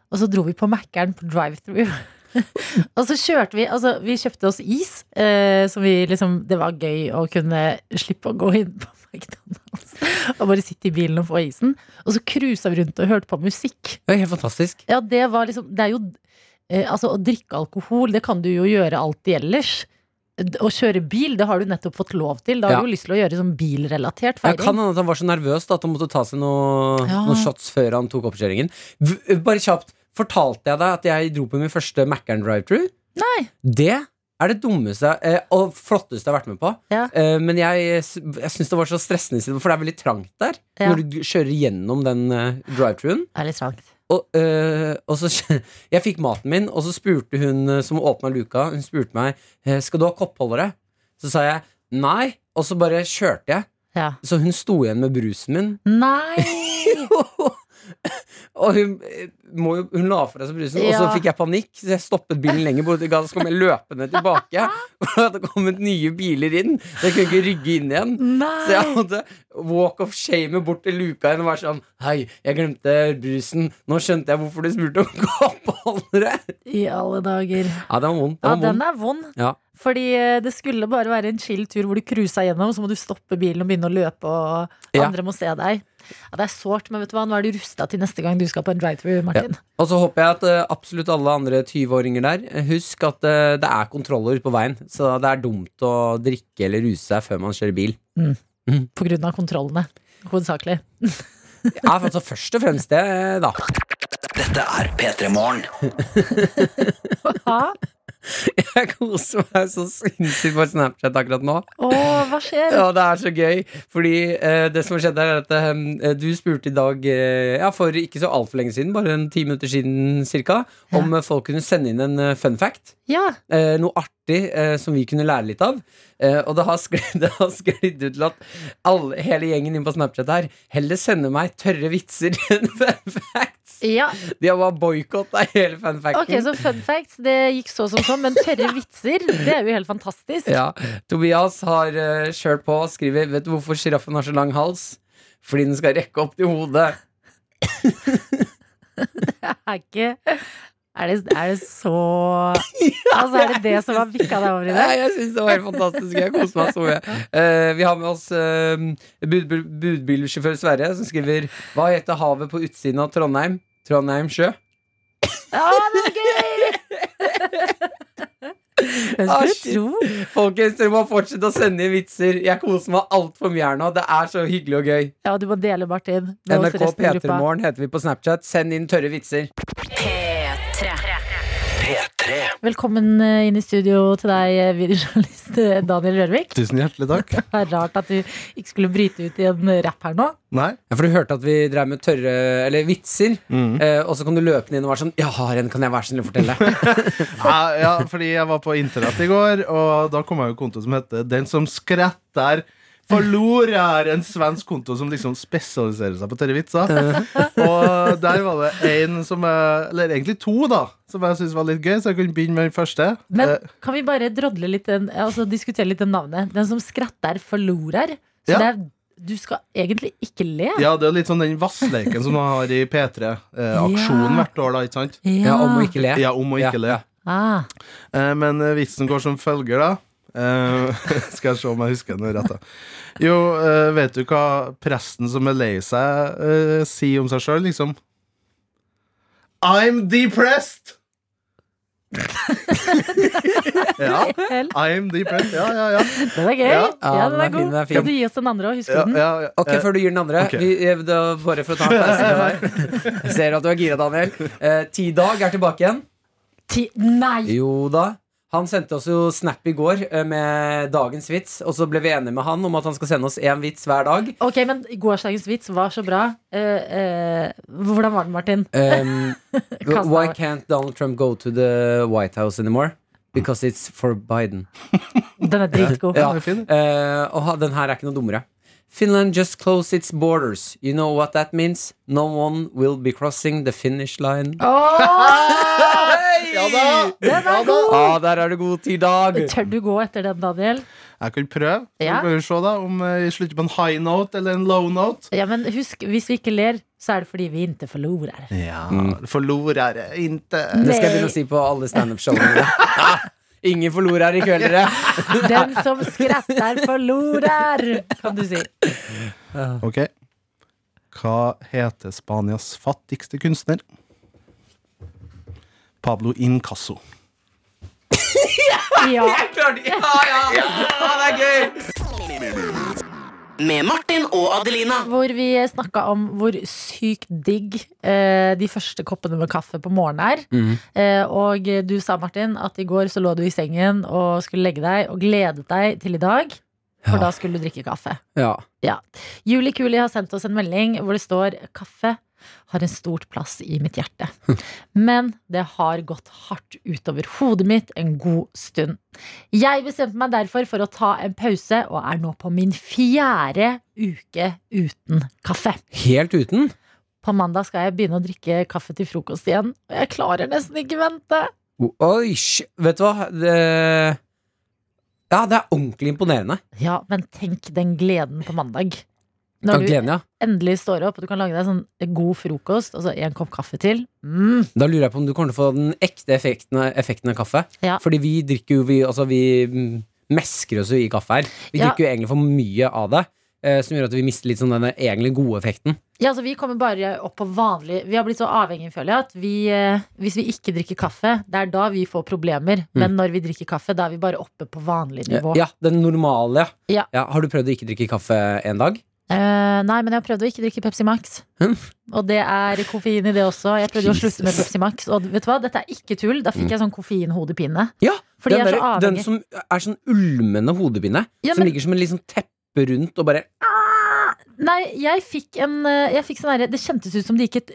[SPEAKER 2] Og så dro vi på Mækkern på drive-through. og så kjørte vi Altså, vi kjøpte oss is, eh, så vi liksom Det var gøy å kunne slippe å gå inn på McDonald's og bare sitte i bilen og få isen. Og så cruisa vi rundt og hørte på musikk.
[SPEAKER 3] Det er helt fantastisk.
[SPEAKER 2] Ja, det var liksom Det er jo eh, Altså, å drikke alkohol, det kan du jo gjøre alltid ellers. D- Å kjøre bil, det har du nettopp fått lov til. Da har
[SPEAKER 3] Ja.
[SPEAKER 2] du jo lyst til å gjøre sånn bilrelatert
[SPEAKER 3] Ja, kan
[SPEAKER 2] feiring.
[SPEAKER 3] hende at han var så nervøs da, at han måtte ta seg noe,
[SPEAKER 2] Ja.
[SPEAKER 3] noen shots før han tok oppkjøringen. V- eh, Bare kjapt, fortalte jeg deg at jeg dro på min første Mac'er'n drive-thru?
[SPEAKER 2] Nei.
[SPEAKER 3] Det er det dummeste eh, og flotteste jeg har vært med på.
[SPEAKER 2] Ja.
[SPEAKER 3] Eh, Men jeg, s- jeg syns det var så stressende, siden- for det er veldig trangt der
[SPEAKER 2] Ja.
[SPEAKER 3] når du kjører gjennom den eh, drive-thruen.
[SPEAKER 2] Det er litt trangt.
[SPEAKER 3] Og, øh, og så Jeg fikk maten min, og så spurte hun øh, som åpna luka, hun spurte meg «Eh, Skal du ha koppholdere. Så sa jeg nei, og så bare kjørte jeg.
[SPEAKER 2] Ja.
[SPEAKER 3] Så hun sto igjen med brusen min.
[SPEAKER 2] Nei!
[SPEAKER 3] og hun, eh, må jo, hun la fra seg brusen, og så
[SPEAKER 2] Ja.
[SPEAKER 3] fikk jeg panikk. Så jeg stoppet bilen lenger borte i gata, så kom jeg løpende tilbake. For at det hadde kommet nye biler inn. Så jeg kunne ikke rygge inn igjen. Så
[SPEAKER 2] Nei!
[SPEAKER 3] jeg måtte walk of shame bort til luka igjen og være sånn Hei, jeg glemte brusen. Nå skjønte jeg hvorfor du spurte om kappholdere.
[SPEAKER 2] I alle dager.
[SPEAKER 3] Ja, den var vond.
[SPEAKER 2] Ja,
[SPEAKER 3] Den var
[SPEAKER 2] den
[SPEAKER 3] vond.
[SPEAKER 2] er vond.
[SPEAKER 3] Ja.
[SPEAKER 2] Fordi eh, det skulle bare være en chill tur hvor du cruisa gjennom, så må du stoppe bilen og begynne å løpe, og
[SPEAKER 3] Ja.
[SPEAKER 2] andre må se deg. Ja, det er sårt, men vet du hva, nå er du rusta til neste gang du skal på en drive-through, Martin.
[SPEAKER 3] Og så håper jeg at eh, absolutt alle andre 20-åringer der eh, Husk at eh, det er kontroller på veien, så det er dumt å drikke eller ruse seg før man kjører bil.
[SPEAKER 2] På grunn av kontrollene, hovedsakelig.
[SPEAKER 3] Ja, altså først og fremst det, da.
[SPEAKER 4] Dette er P3 Morgen.
[SPEAKER 2] Ja,
[SPEAKER 3] Jeg koser meg så sinnssykt på Snapchat akkurat nå.
[SPEAKER 2] Å, hva skjer?
[SPEAKER 3] Ja, det er så gøy. Fordi eh, det som har skjedd, her er at eh, du spurte i dag, eh, ja, for ikke så altfor lenge siden, bare en ti minutter siden cirka, om eh, folk kunne sende inn en eh, fun fact.
[SPEAKER 2] Ja.
[SPEAKER 3] Eh, noe artig eh, som vi kunne lære litt av. Eh, og det har sklidd, det har sklidd ut til at alle, hele gjengen inne på Snapchat her heller sender meg tørre vitser enn fun facts.
[SPEAKER 2] ja.
[SPEAKER 3] De har bare boikotta hele fun facten.
[SPEAKER 2] Ok, så fun facts. Det gikk så som så, men tørre vitser, det er jo helt fantastisk.
[SPEAKER 3] Ja. Tobias har uh, kjørt på og skriver Vet du hvorfor sjiraffen har så lang hals? Fordi den skal rekke opp til hodet.
[SPEAKER 2] Er ikke er det, er det så Altså, er det det som har vikka deg over i det?
[SPEAKER 3] Nei, jeg syns det var helt fantastisk. Jeg koser meg så mye. Eh, vi har med oss eh, bud, bud, budbilsjåfør Sverre, som skriver Hva heter havet på utsiden av Trondheim? Trondheim sjø.
[SPEAKER 2] Å, det var gøy! Hvem
[SPEAKER 3] Ah,
[SPEAKER 2] skulle
[SPEAKER 3] shit.
[SPEAKER 2] tro?
[SPEAKER 3] Folkens, dere må fortsette å sende inn vitser. Jeg koser meg altfor mye her nå. Det er så hyggelig og gøy.
[SPEAKER 2] Ja, du må dele, Martin. med oss
[SPEAKER 3] NRK
[SPEAKER 2] resten av gruppa.
[SPEAKER 3] P3morgen heter vi på Snapchat. Send inn tørre vitser.
[SPEAKER 2] Velkommen eh, inn i studio til deg, eh, videojournalist eh, Daniel Rørvik.
[SPEAKER 4] Tusen hjertelig takk.
[SPEAKER 2] Det er rart at du ikke skulle bryte ut i en rapp her nå.
[SPEAKER 4] Nei.
[SPEAKER 3] Ja, for du hørte at vi drev med tørre Eller vitser. Eh, og så kom du løpende inn og var sånn Jeg har en, kan jeg være så snill å fortelle?
[SPEAKER 4] Ja, ja, fordi jeg var på internett i går, og da kom jeg jo en konto som heter Den som skretter forlorer. En svensk konto som liksom spesialiserer seg på tørre vitser. Og der var det en som jeg, Eller egentlig to, da, som jeg syntes var litt gøy, så jeg kunne begynne med den første.
[SPEAKER 2] Men
[SPEAKER 4] Eh,
[SPEAKER 2] kan vi bare drodle litt den, altså diskutere litt det navnet? Den som skratter, forlorer. Så
[SPEAKER 4] Ja.
[SPEAKER 2] det er, du skal egentlig ikke le.
[SPEAKER 4] ja, det er jo litt sånn den vassleiken som man har i P3-aksjonen
[SPEAKER 2] Ja.
[SPEAKER 4] hvert år, da, ikke sant?
[SPEAKER 3] Ja, om å ikke le.
[SPEAKER 4] Ja, om å ikke
[SPEAKER 3] Ja,
[SPEAKER 4] le.
[SPEAKER 3] ja.
[SPEAKER 2] Ah,
[SPEAKER 4] Eh, Men eh, vitsen går som følger, da. Eh, skal jeg se om jeg husker den rett. da Jo, eh, vet du hva presten som er lei seg, eh, sier om seg sjøl, liksom? I'm depressed! ja.
[SPEAKER 2] vel.
[SPEAKER 4] I'm depressed. Ja, ja, ja.
[SPEAKER 2] Den er gøy. Ja,
[SPEAKER 4] Ja.
[SPEAKER 3] Ja,
[SPEAKER 2] den er
[SPEAKER 3] fin,
[SPEAKER 2] god.
[SPEAKER 3] den er fin.
[SPEAKER 2] Kan du gi oss den andre òg? Husker
[SPEAKER 4] ja,
[SPEAKER 2] du den?
[SPEAKER 4] ja, ja.
[SPEAKER 3] Ok,
[SPEAKER 4] Eh,
[SPEAKER 3] før du gir den andre.
[SPEAKER 4] ok.
[SPEAKER 3] Vi, eh, da, bare for å ta en pause fra deg. Jeg Ser at du er gira, Daniel. Eh, Tidag er tilbake igjen.
[SPEAKER 2] Ti Nei!
[SPEAKER 3] Jo da. Han sendte oss jo snap i går eh, med dagens vits, og så ble vi enige med han om at han skal sende oss én vits hver dag.
[SPEAKER 2] Ok, men gårsdagens vits var så bra. Eh, eh, hvordan var den, Martin?
[SPEAKER 3] Um,
[SPEAKER 2] Kast
[SPEAKER 3] why
[SPEAKER 2] av.
[SPEAKER 3] can't Donald Trump go to the White House anymore? Because it's for Biden.
[SPEAKER 2] Den er dritgod.
[SPEAKER 3] Ja.
[SPEAKER 4] den er fin.
[SPEAKER 3] Eh, og ha- den her er ikke noe dummere. Finland just closed its borders. You know what that means? No one will be crossing the finish line.
[SPEAKER 2] Åh!
[SPEAKER 4] Ah, Eh, Ja da!
[SPEAKER 2] Den er god!
[SPEAKER 3] Ah, der er du god til i dag.
[SPEAKER 2] Tør du gå etter den, Daniel?
[SPEAKER 4] Jeg kan prøve. Så
[SPEAKER 2] Ja.
[SPEAKER 4] kan vi se da om eh, jeg slutter på en high note eller en low note.
[SPEAKER 2] Ja, men husk, hvis vi ikke ler, så er det fordi vi ikke forlorer.
[SPEAKER 4] Ja, Forlorer inte
[SPEAKER 3] Det skal jeg begynne å si på alle standup-showene mine. Ah, Ingen forlorer her i kveld, dere.
[SPEAKER 2] Den som skratter, forlorer, kan du si.
[SPEAKER 4] Ok Hva heter Spanias fattigste kunstner? Pablo Incasso
[SPEAKER 2] Ja.
[SPEAKER 3] Klart, ja, ja, ja, det er gøy!
[SPEAKER 5] Med Martin og Adelina.
[SPEAKER 2] Hvor vi snakka om hvor sykt digg eh, de første koppene med kaffe på morgenen er. Eh, og du sa, Martin, at i går så lå du i sengen og skulle legge deg og gledet deg til i dag. For da skulle du drikke kaffe.
[SPEAKER 3] Ja.
[SPEAKER 2] Ja. Juli Kuli har sendt oss en melding hvor det står 'Kaffe har en stort plass i mitt hjerte'. Men det har gått hardt utover hodet mitt en god stund. Jeg bestemte meg derfor for å ta en pause, og er nå på min fjerde uke uten kaffe.
[SPEAKER 3] Helt uten?
[SPEAKER 2] På mandag skal jeg begynne å drikke kaffe til frokost igjen, og jeg klarer nesten ikke vente.
[SPEAKER 3] O- Oi, sj- vet du hva? Det... Ja, det er ordentlig imponerende.
[SPEAKER 2] Ja, men tenk den gleden på mandag.
[SPEAKER 3] Ja,
[SPEAKER 2] Når du
[SPEAKER 3] gleden, ja.
[SPEAKER 2] endelig står opp og du kan lage deg sånn god frokost og så en kopp kaffe til. Mm.
[SPEAKER 3] Da lurer jeg på om du kommer til å få den ekte effekten av, effekten av kaffe.
[SPEAKER 2] Ja.
[SPEAKER 3] Fordi vi drikker jo vi, altså, vi mm, mesker oss jo i kaffe her. Vi
[SPEAKER 2] Ja.
[SPEAKER 3] drikker jo egentlig for mye av det, eh, som gjør at vi mister litt sånn den egentlig gode effekten.
[SPEAKER 2] Ja, altså Vi kommer bare opp på vanlig Vi har blitt så avhengige, føler jeg, at vi, eh, hvis vi ikke drikker kaffe, det er da vi får problemer.
[SPEAKER 3] Mm.
[SPEAKER 2] Men når vi drikker kaffe, da er vi bare oppe på vanlig nivå.
[SPEAKER 3] Ja, den normale.
[SPEAKER 2] Ja.
[SPEAKER 3] Har du prøvd å ikke drikke kaffe en dag?
[SPEAKER 2] Eh, nei, men jeg prøvde å ikke drikke Pepsi Max.
[SPEAKER 3] Hm?
[SPEAKER 2] Og det er koffein i det også. Jeg prøvde jo å slutte med
[SPEAKER 3] Jesus. Mm.
[SPEAKER 2] Pepsi Max. Og vet du hva, dette er ikke tull. Da fikk jeg sånn koffeinhodepine.
[SPEAKER 3] Ja,
[SPEAKER 2] Fordi jeg
[SPEAKER 3] den,
[SPEAKER 2] er så
[SPEAKER 3] der- den
[SPEAKER 2] avhengig.
[SPEAKER 3] som er sånn ulmende hodepine.
[SPEAKER 2] Ja,
[SPEAKER 3] Som
[SPEAKER 2] men-
[SPEAKER 3] ligger som en liksom teppe rundt og bare
[SPEAKER 2] Nei, jeg fikk en eh, jeg fikk sånn derre- Det kjentes ut som det gikk et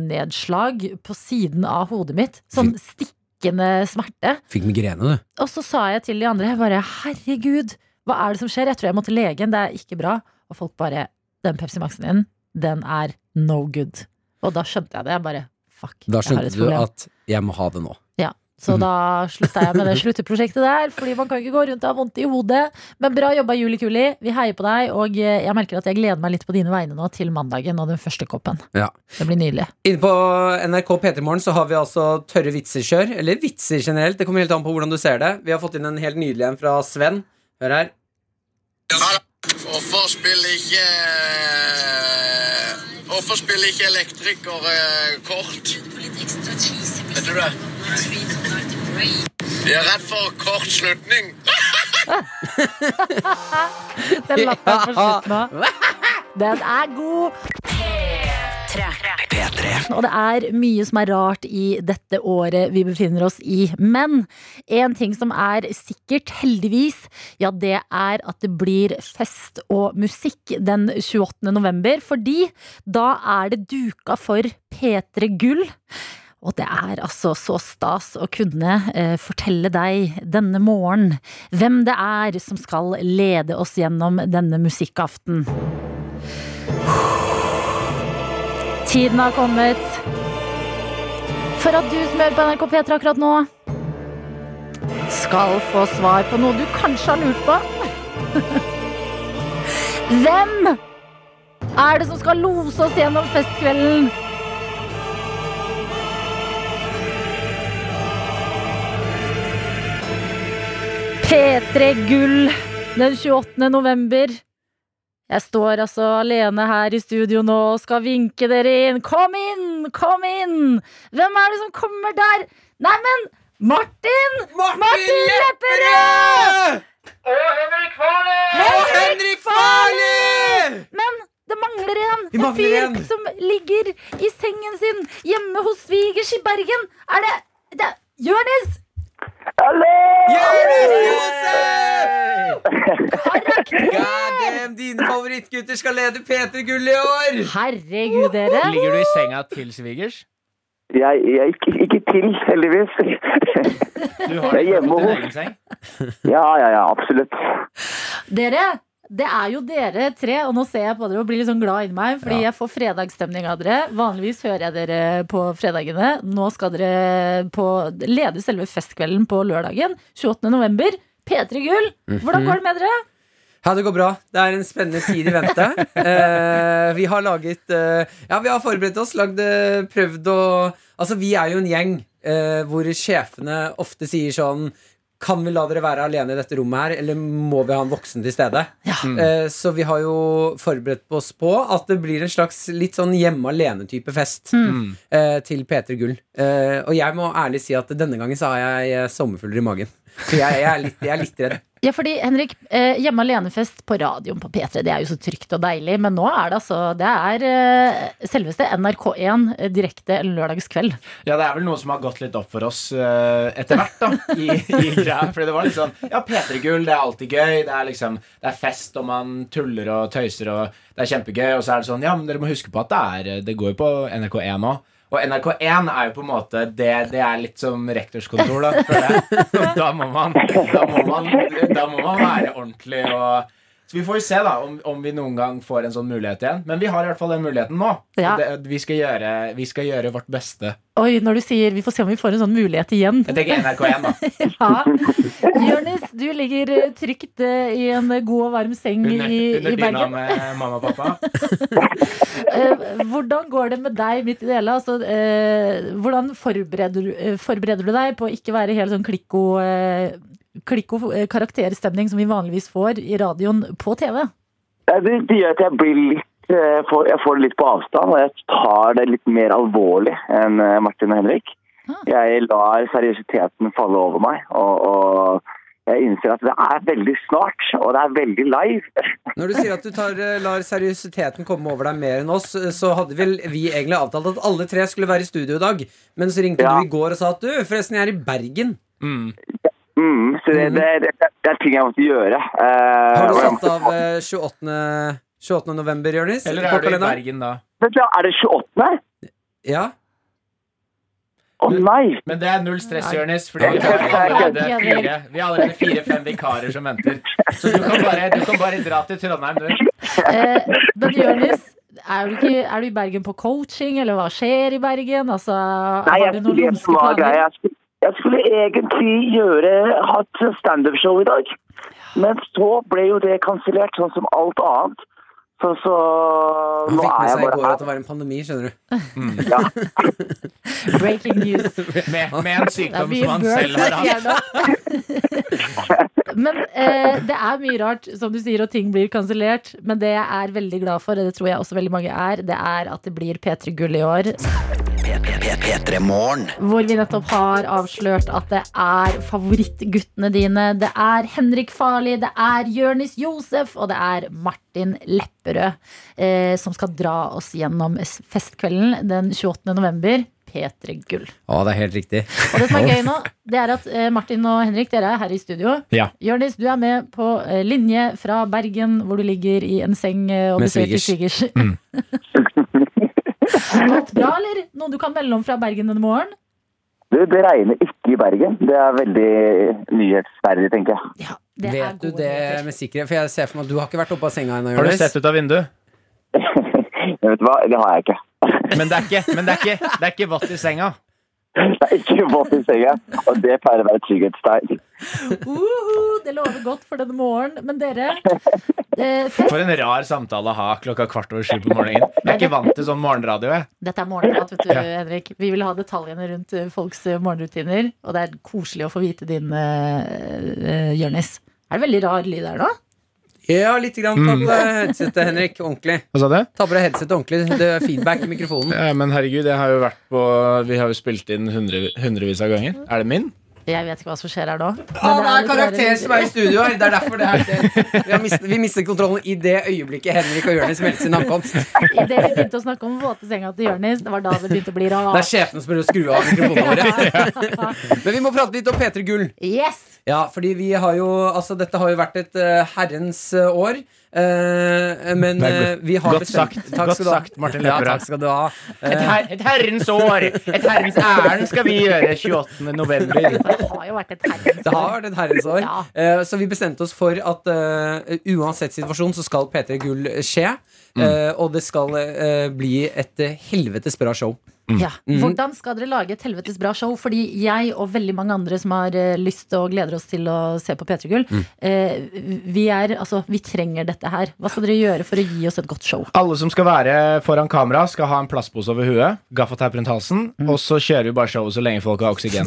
[SPEAKER 2] lynnedslag på siden av hodet mitt. Sånn stikkende smerte.
[SPEAKER 3] Fikk migrene, du.
[SPEAKER 2] Og så sa jeg til de andre, jeg bare herregud, hva er det som skjer? Jeg tror jeg må til legen, det er ikke bra. Og folk bare, den Pepsi Maxen din, den er no good. Og da skjønte jeg det. Jeg bare fuck, jeg
[SPEAKER 3] Da
[SPEAKER 2] har
[SPEAKER 3] skjønte
[SPEAKER 2] et
[SPEAKER 3] du
[SPEAKER 2] problem.
[SPEAKER 3] at jeg må ha det nå.
[SPEAKER 2] Så da slutta jeg med det slutteprosjektet der, fordi man kan ikke gå rundt og ha vondt i hodet. Men bra jobba, Juli Kuli. Vi heier på deg, og eh, jeg merker at jeg gleder meg litt på dine vegne nå til mandagen og den første koppen.
[SPEAKER 3] Ja.
[SPEAKER 2] Det blir nydelig.
[SPEAKER 3] Inne på NRK P3 Morgen så har vi altså tørre vitsekjør. Eller vitser generelt. Det kommer helt an på hvordan du ser det. Vi har fått inn en helt nydelig en fra Sven. Hør her.
[SPEAKER 6] Hvorfor spiller ikke eh, Hvorfor spiller ikke elektrikere kort? Vet du det? De er redd for kortslutning.
[SPEAKER 2] Den lappen på slutten nå. Den er god! Og det er mye som er rart i dette året vi befinner oss i. Men en ting som er sikkert, heldigvis, ja det er at det blir fest og musikk den 28. november. Fordi da er det duka for P3 Gull. Og det er altså så stas å kunne eh, fortelle deg denne morgen hvem det er som skal lede oss gjennom denne musikkaften. Tiden har kommet for at du som hører på NRK P3 akkurat nå, skal få svar på noe du kanskje har lurt på. Hvem er det som skal lose oss gjennom festkvelden? P3 Gull den 28. november. Jeg står altså alene her i studio nå og skal vinke dere inn. Kom inn! Kom inn! Hvem er det som kommer der? Neimen, Martin!
[SPEAKER 3] Martin
[SPEAKER 2] Lepperød!
[SPEAKER 3] Og Henrik Farley!
[SPEAKER 2] Men det mangler en!
[SPEAKER 3] Vi mangler
[SPEAKER 2] en
[SPEAKER 3] en.
[SPEAKER 2] fyr som ligger i sengen sin hjemme hos svigers i Bergen. Er det, det er Jonis?
[SPEAKER 3] Jonis Josef!
[SPEAKER 2] Karak!
[SPEAKER 3] God damn, dine favorittgutter skal lede P3 Gull i år!
[SPEAKER 2] Herregud, dere.
[SPEAKER 7] Ligger du i senga til svigers?
[SPEAKER 8] Jeg, jeg ikke, ikke til, heldigvis.
[SPEAKER 7] Du har
[SPEAKER 8] Jeg er hjemme
[SPEAKER 7] din
[SPEAKER 8] hos-
[SPEAKER 7] egen seng.
[SPEAKER 8] ja, ja, ja, absolutt.
[SPEAKER 2] Dere, det er jo dere tre, og nå ser jeg på dere og blir litt sånn glad inni meg, fordi jeg får fredagsstemning av dere. Vanligvis hører jeg dere på fredagene. Nå skal dere på, lede selve festkvelden på lørdagen, 28. november. P3 Gull, hvordan går det med dere?
[SPEAKER 3] Ja, det går bra. Det er en spennende tid i vente. Eh, vi har laget eh, Ja, vi har forberedt oss, lagd eh, Prøvd å Altså, vi er jo en gjeng eh, hvor sjefene ofte sier sånn kan vi la dere være alene i dette rommet her, eller må vi ha en voksen til stede? Eh, så vi har jo forberedt oss på at det blir en slags litt sånn hjemme alene-type fest eh, til P3 Gull. Eh, og jeg må ærlig si at denne gangen så har jeg eh, sommerfugler i magen. For jeg, jeg, er, litt, jeg er litt redd.
[SPEAKER 2] Ja, fordi Henrik, eh, hjemme alene-fest på radioen på P3, det er jo så trygt og deilig. Men nå er det altså Det er eh, selveste NRK1 eh, direkte en lørdagskveld.
[SPEAKER 7] Ja, det er vel noe som har gått litt opp for oss eh, etter hvert, da. I, i greia. Fordi det var litt sånn Ja, P3-gull, det er alltid gøy. Det er liksom Det er fest, og man tuller og tøyser, og det er kjempegøy. Og så er det sånn Ja, men dere må huske på at det er Det går jo på NRK1 òg. Og NRK1 er jo på en måte Det, det er litt som rektorskontor, da. føler jeg. Og Da må man Da må man, da må man være ordentlig og så Vi får jo se da om, om vi noen gang får en sånn mulighet igjen. Men vi har i hvert fall den muligheten nå.
[SPEAKER 2] Ja.
[SPEAKER 7] Og Det, vi, skal gjøre, vi skal gjøre vårt beste
[SPEAKER 2] Oi, når du sier vi får se om vi får en sånn mulighet igjen.
[SPEAKER 7] jeg tenker NRK1, da.
[SPEAKER 2] Ja. Jonis, du ligger eh, trygt eh, i en eh, god og varm seng
[SPEAKER 7] Under,
[SPEAKER 2] i, i
[SPEAKER 7] under dyna
[SPEAKER 2] Bergen.
[SPEAKER 7] med mamma og pappa.
[SPEAKER 2] Eh, Hvordan går det med deg midt i det hele? Altså, eh, hvordan forbereder, du- eh, forbereder du deg på å ikke være helt sånn klikko, eh, klikko eh, karakterstemning som vi vanligvis får i radioen på TV?
[SPEAKER 8] Ja, Eh, Det, det gjør at jeg blir litt eh, får, Jeg får det litt på avstand, og jeg tar det litt mer alvorlig enn eh, Martin og Henrik.
[SPEAKER 2] Ah.
[SPEAKER 8] Jeg lar seriøsiteten falle over meg, og, og Jeg innser at det er veldig snart, og det er veldig live.
[SPEAKER 3] Når du sier at du tar, eh, lar seriøsiteten komme over deg mer enn oss, eh, så hadde vel vi egentlig avtalt at alle tre skulle være i studio i dag. Men så ringte
[SPEAKER 8] Ja.
[SPEAKER 3] du i går og sa at du, forresten, jeg er i Bergen.
[SPEAKER 8] Mm, så det, det, det, det er ting jeg måtte gjøre. Eh,
[SPEAKER 3] Mhm. Har du
[SPEAKER 8] og jeg
[SPEAKER 3] satt
[SPEAKER 8] må-
[SPEAKER 3] av eh, 28. 28. november, Jonis?
[SPEAKER 7] Eller
[SPEAKER 3] på
[SPEAKER 7] er du i
[SPEAKER 3] kalenderen?
[SPEAKER 7] Bergen da?
[SPEAKER 8] Vent da, Er det 28.?
[SPEAKER 3] Ja.
[SPEAKER 8] Å nei!
[SPEAKER 7] Men det er null stress,
[SPEAKER 2] Nei.
[SPEAKER 7] Jonis. Fordi vi har allerede fire Vi har allerede fire-fem vikarer som venter. Så du kan bare, du kan bare dra til Trondheim, du.
[SPEAKER 2] Eh, men Jonis, er, du ikke- er du i Bergen på coaching, eller hva skjer i Bergen? Altså,
[SPEAKER 8] nei
[SPEAKER 2] har
[SPEAKER 8] jeg,
[SPEAKER 2] du noen
[SPEAKER 8] vet
[SPEAKER 2] lumske
[SPEAKER 8] hva
[SPEAKER 2] planer?
[SPEAKER 8] greia er. jeg, skulle, jeg skulle egentlig gjøre hatt standup-show i dag, men så ble jo det kansellert, sånn som alt annet. Så, så
[SPEAKER 3] Han
[SPEAKER 8] nå
[SPEAKER 3] fikk
[SPEAKER 8] er
[SPEAKER 3] med
[SPEAKER 8] jeg
[SPEAKER 3] seg i
[SPEAKER 8] bare
[SPEAKER 3] går at
[SPEAKER 8] her.
[SPEAKER 3] det var en pandemi, skjønner du.
[SPEAKER 2] Breaking news.
[SPEAKER 7] Med, med en
[SPEAKER 2] Det er
[SPEAKER 7] sykdom
[SPEAKER 2] mye
[SPEAKER 7] som han selv har hatt.
[SPEAKER 2] burn. men eh, det er mye rart, som du sier, og ting blir kansellert. Men det jeg er veldig glad for, og det tror jeg også veldig mange er, det er at det blir P3 Gull i år. Hvor vi nettopp har avslørt at det er favorittguttene dine. Det er Henrik Farli, det er Jørnis Josef, og det er Martin Lepperød. Eh, som skal dra oss gjennom festkvelden den 28. november. P3 Gull.
[SPEAKER 3] Å, det er helt riktig.
[SPEAKER 2] Og det som er gøy nå, det er at eh, Martin og Henrik, dere er her i studio.
[SPEAKER 7] Ja.
[SPEAKER 2] Jørnis, du er med på eh, linje fra Bergen, hvor du ligger i en seng eh, og
[SPEAKER 3] Med Mm.
[SPEAKER 2] besøker svigers. Har det gått bra, eller? Noe du kan melde om fra Bergen denne morgenen?
[SPEAKER 8] Du, det regner ikke i Bergen. Det er veldig nyhetsverdig, tenker jeg.
[SPEAKER 2] Ja,
[SPEAKER 3] Vet du
[SPEAKER 2] gode
[SPEAKER 3] det
[SPEAKER 2] nyheter.
[SPEAKER 3] med sikkerhet? For jeg ser for meg at du har ikke vært oppe av senga ennå,
[SPEAKER 7] Har du
[SPEAKER 3] Jonis.
[SPEAKER 7] sett ut av vinduet?
[SPEAKER 8] Jeg vet hva, det har jeg ikke.
[SPEAKER 7] Men det er ikke, men det er ikke, det er ikke vått i senga.
[SPEAKER 8] Det er ikke vått i senga, og det pleier å være et trygghetstegn.
[SPEAKER 2] Uhu, det lover godt for denne morgenen. Men dere, eh, fest.
[SPEAKER 7] For en rar samtale å ha klokka kvart over sju på morgenen. Jeg er ikke vant til sånn morgenradio. jeg
[SPEAKER 2] dette er morgenprat, vet du, Henrik. Vi vil ha detaljene rundt eh, folks eh, morgenrutiner. Og det er koselig å få vite din, eh, eh, Jørnis. Er det veldig rar lyd her nå?
[SPEAKER 3] Ja, litt grann. Ta på deg headsetet, Henrik. Ordentlig.
[SPEAKER 7] Hva sa du?
[SPEAKER 3] Ta på deg headsetet ordentlig. Det er feedback i mikrofonen.
[SPEAKER 7] Ja, men herregud, jeg har jo vært på Vi har jo spilt inn hundre, hundrevis av ganger. Er det min?
[SPEAKER 2] Jeg vet ikke hva som skjer her nå. men
[SPEAKER 3] Ja, det er
[SPEAKER 2] litt
[SPEAKER 3] karakter
[SPEAKER 2] rare-
[SPEAKER 3] som er i studio her. Det er derfor det er det. Vi, har mistet, vi mistet kontrollen i det øyeblikket Henrik og Jonis meldte sin ankomst. Det
[SPEAKER 2] I det vi begynte å snakke om våte senga til Jonis, det var da det begynte å bli
[SPEAKER 3] er
[SPEAKER 2] rart.
[SPEAKER 3] sjefen som prøver å skru av mikrofonene våre. Men vi må prate litt om P3 Gull.
[SPEAKER 2] Yes!
[SPEAKER 3] Ja, fordi vi har jo Altså, dette har jo vært et eh, herrens eh, år. Eh, men
[SPEAKER 7] Det er
[SPEAKER 3] eh, vi har
[SPEAKER 7] godt
[SPEAKER 3] bestemt
[SPEAKER 7] sagt.
[SPEAKER 3] Takk
[SPEAKER 7] Godt
[SPEAKER 3] skal du ha.
[SPEAKER 7] sagt, Martin
[SPEAKER 3] Ja,
[SPEAKER 7] Lepperød.
[SPEAKER 3] takk skal du ha.
[SPEAKER 7] Et, her, et herrens år! Et herrens ærend skal vi gjøre 28. november.
[SPEAKER 2] Det har jo vært et herrens
[SPEAKER 3] Det har vært et herrens år.
[SPEAKER 2] Ja.
[SPEAKER 3] Eh, så vi bestemte oss for at eh, uansett situasjon så skal P3 Gull skje.
[SPEAKER 7] Mm.
[SPEAKER 3] Eh, og det skal eh, bli et eh, helvetes bra show.
[SPEAKER 2] Ja.
[SPEAKER 3] Mm.
[SPEAKER 2] Hvordan skal dere lage et helvetes bra show? Fordi jeg og veldig mange andre som har eh, lyst og gleder oss til å se på P3 Gull,
[SPEAKER 3] Mm.
[SPEAKER 2] eh, vi, er, altså, vi trenger dette her. Hva skal dere gjøre for å gi oss et godt show?
[SPEAKER 7] Alle som skal være foran kamera, skal ha en plastpose over huet, gaffateip rundt halsen, og så kjører vi bare showet så lenge folk har oksygen.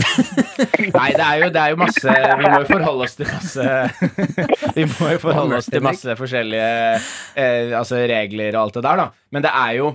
[SPEAKER 7] Nei, det er jo, det er jo masse Vi må jo forholde oss til masse Vi må jo forholde oss til masse forskjellige eh, altså regler og alt det der, da. Men det er jo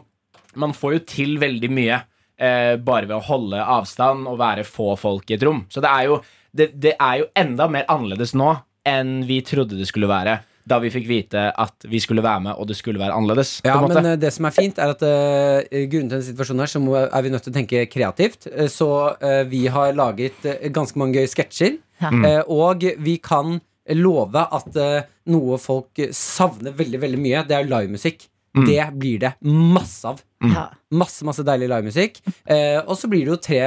[SPEAKER 7] Man får jo til veldig mye eh, bare ved å holde avstand og være få folk i et rom. Så det er jo, det, det er jo enda mer annerledes nå enn vi trodde det skulle være. Da vi fikk vite at vi skulle være med, og det skulle være annerledes. på
[SPEAKER 3] Ja,
[SPEAKER 7] en måte.
[SPEAKER 3] men eh, det som er fint er at eh, grunnet denne situasjonen her, så må, er vi nødt til å tenke kreativt. Eh, så eh, vi har laget eh, ganske mange gøye sketsjer.
[SPEAKER 2] Ja.
[SPEAKER 3] Eh, og vi kan love at eh, noe folk savner veldig, veldig mye, det er livemusikk. Det blir det masse av.
[SPEAKER 2] Ja.
[SPEAKER 3] Masse, masse deilig livemusikk. Eh, og så blir det jo tre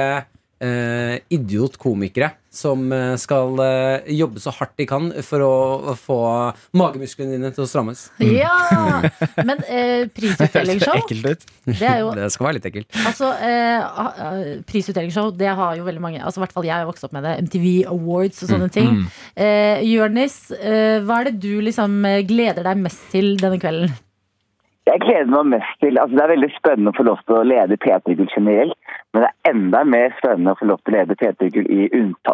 [SPEAKER 3] eh, idiotkomikere som eh, skal eh, jobbe så hardt de kan for å få magemusklene dine til å strammes.
[SPEAKER 2] ja!
[SPEAKER 3] Mm.
[SPEAKER 2] Men eh, prisutdelingsshow,
[SPEAKER 7] ut.
[SPEAKER 2] det er jo
[SPEAKER 3] Det skal være litt ekkelt.
[SPEAKER 2] Altså, eh, ah, ah, prisutdelingsshow, det har jo veldig mange Altså, i hvert fall jeg har vokst opp med det. MTV Awards og
[SPEAKER 7] Mm,
[SPEAKER 2] sånne ting. Eh, Jørnis, eh, hva er det du liksom eh, gleder deg mest til denne kvelden?
[SPEAKER 8] Jeg gleder meg mest til altså Det er veldig spennende å få lov til å lede P3 Gull generelt, men det er enda mer spennende å få lov til å lede P3 Gull i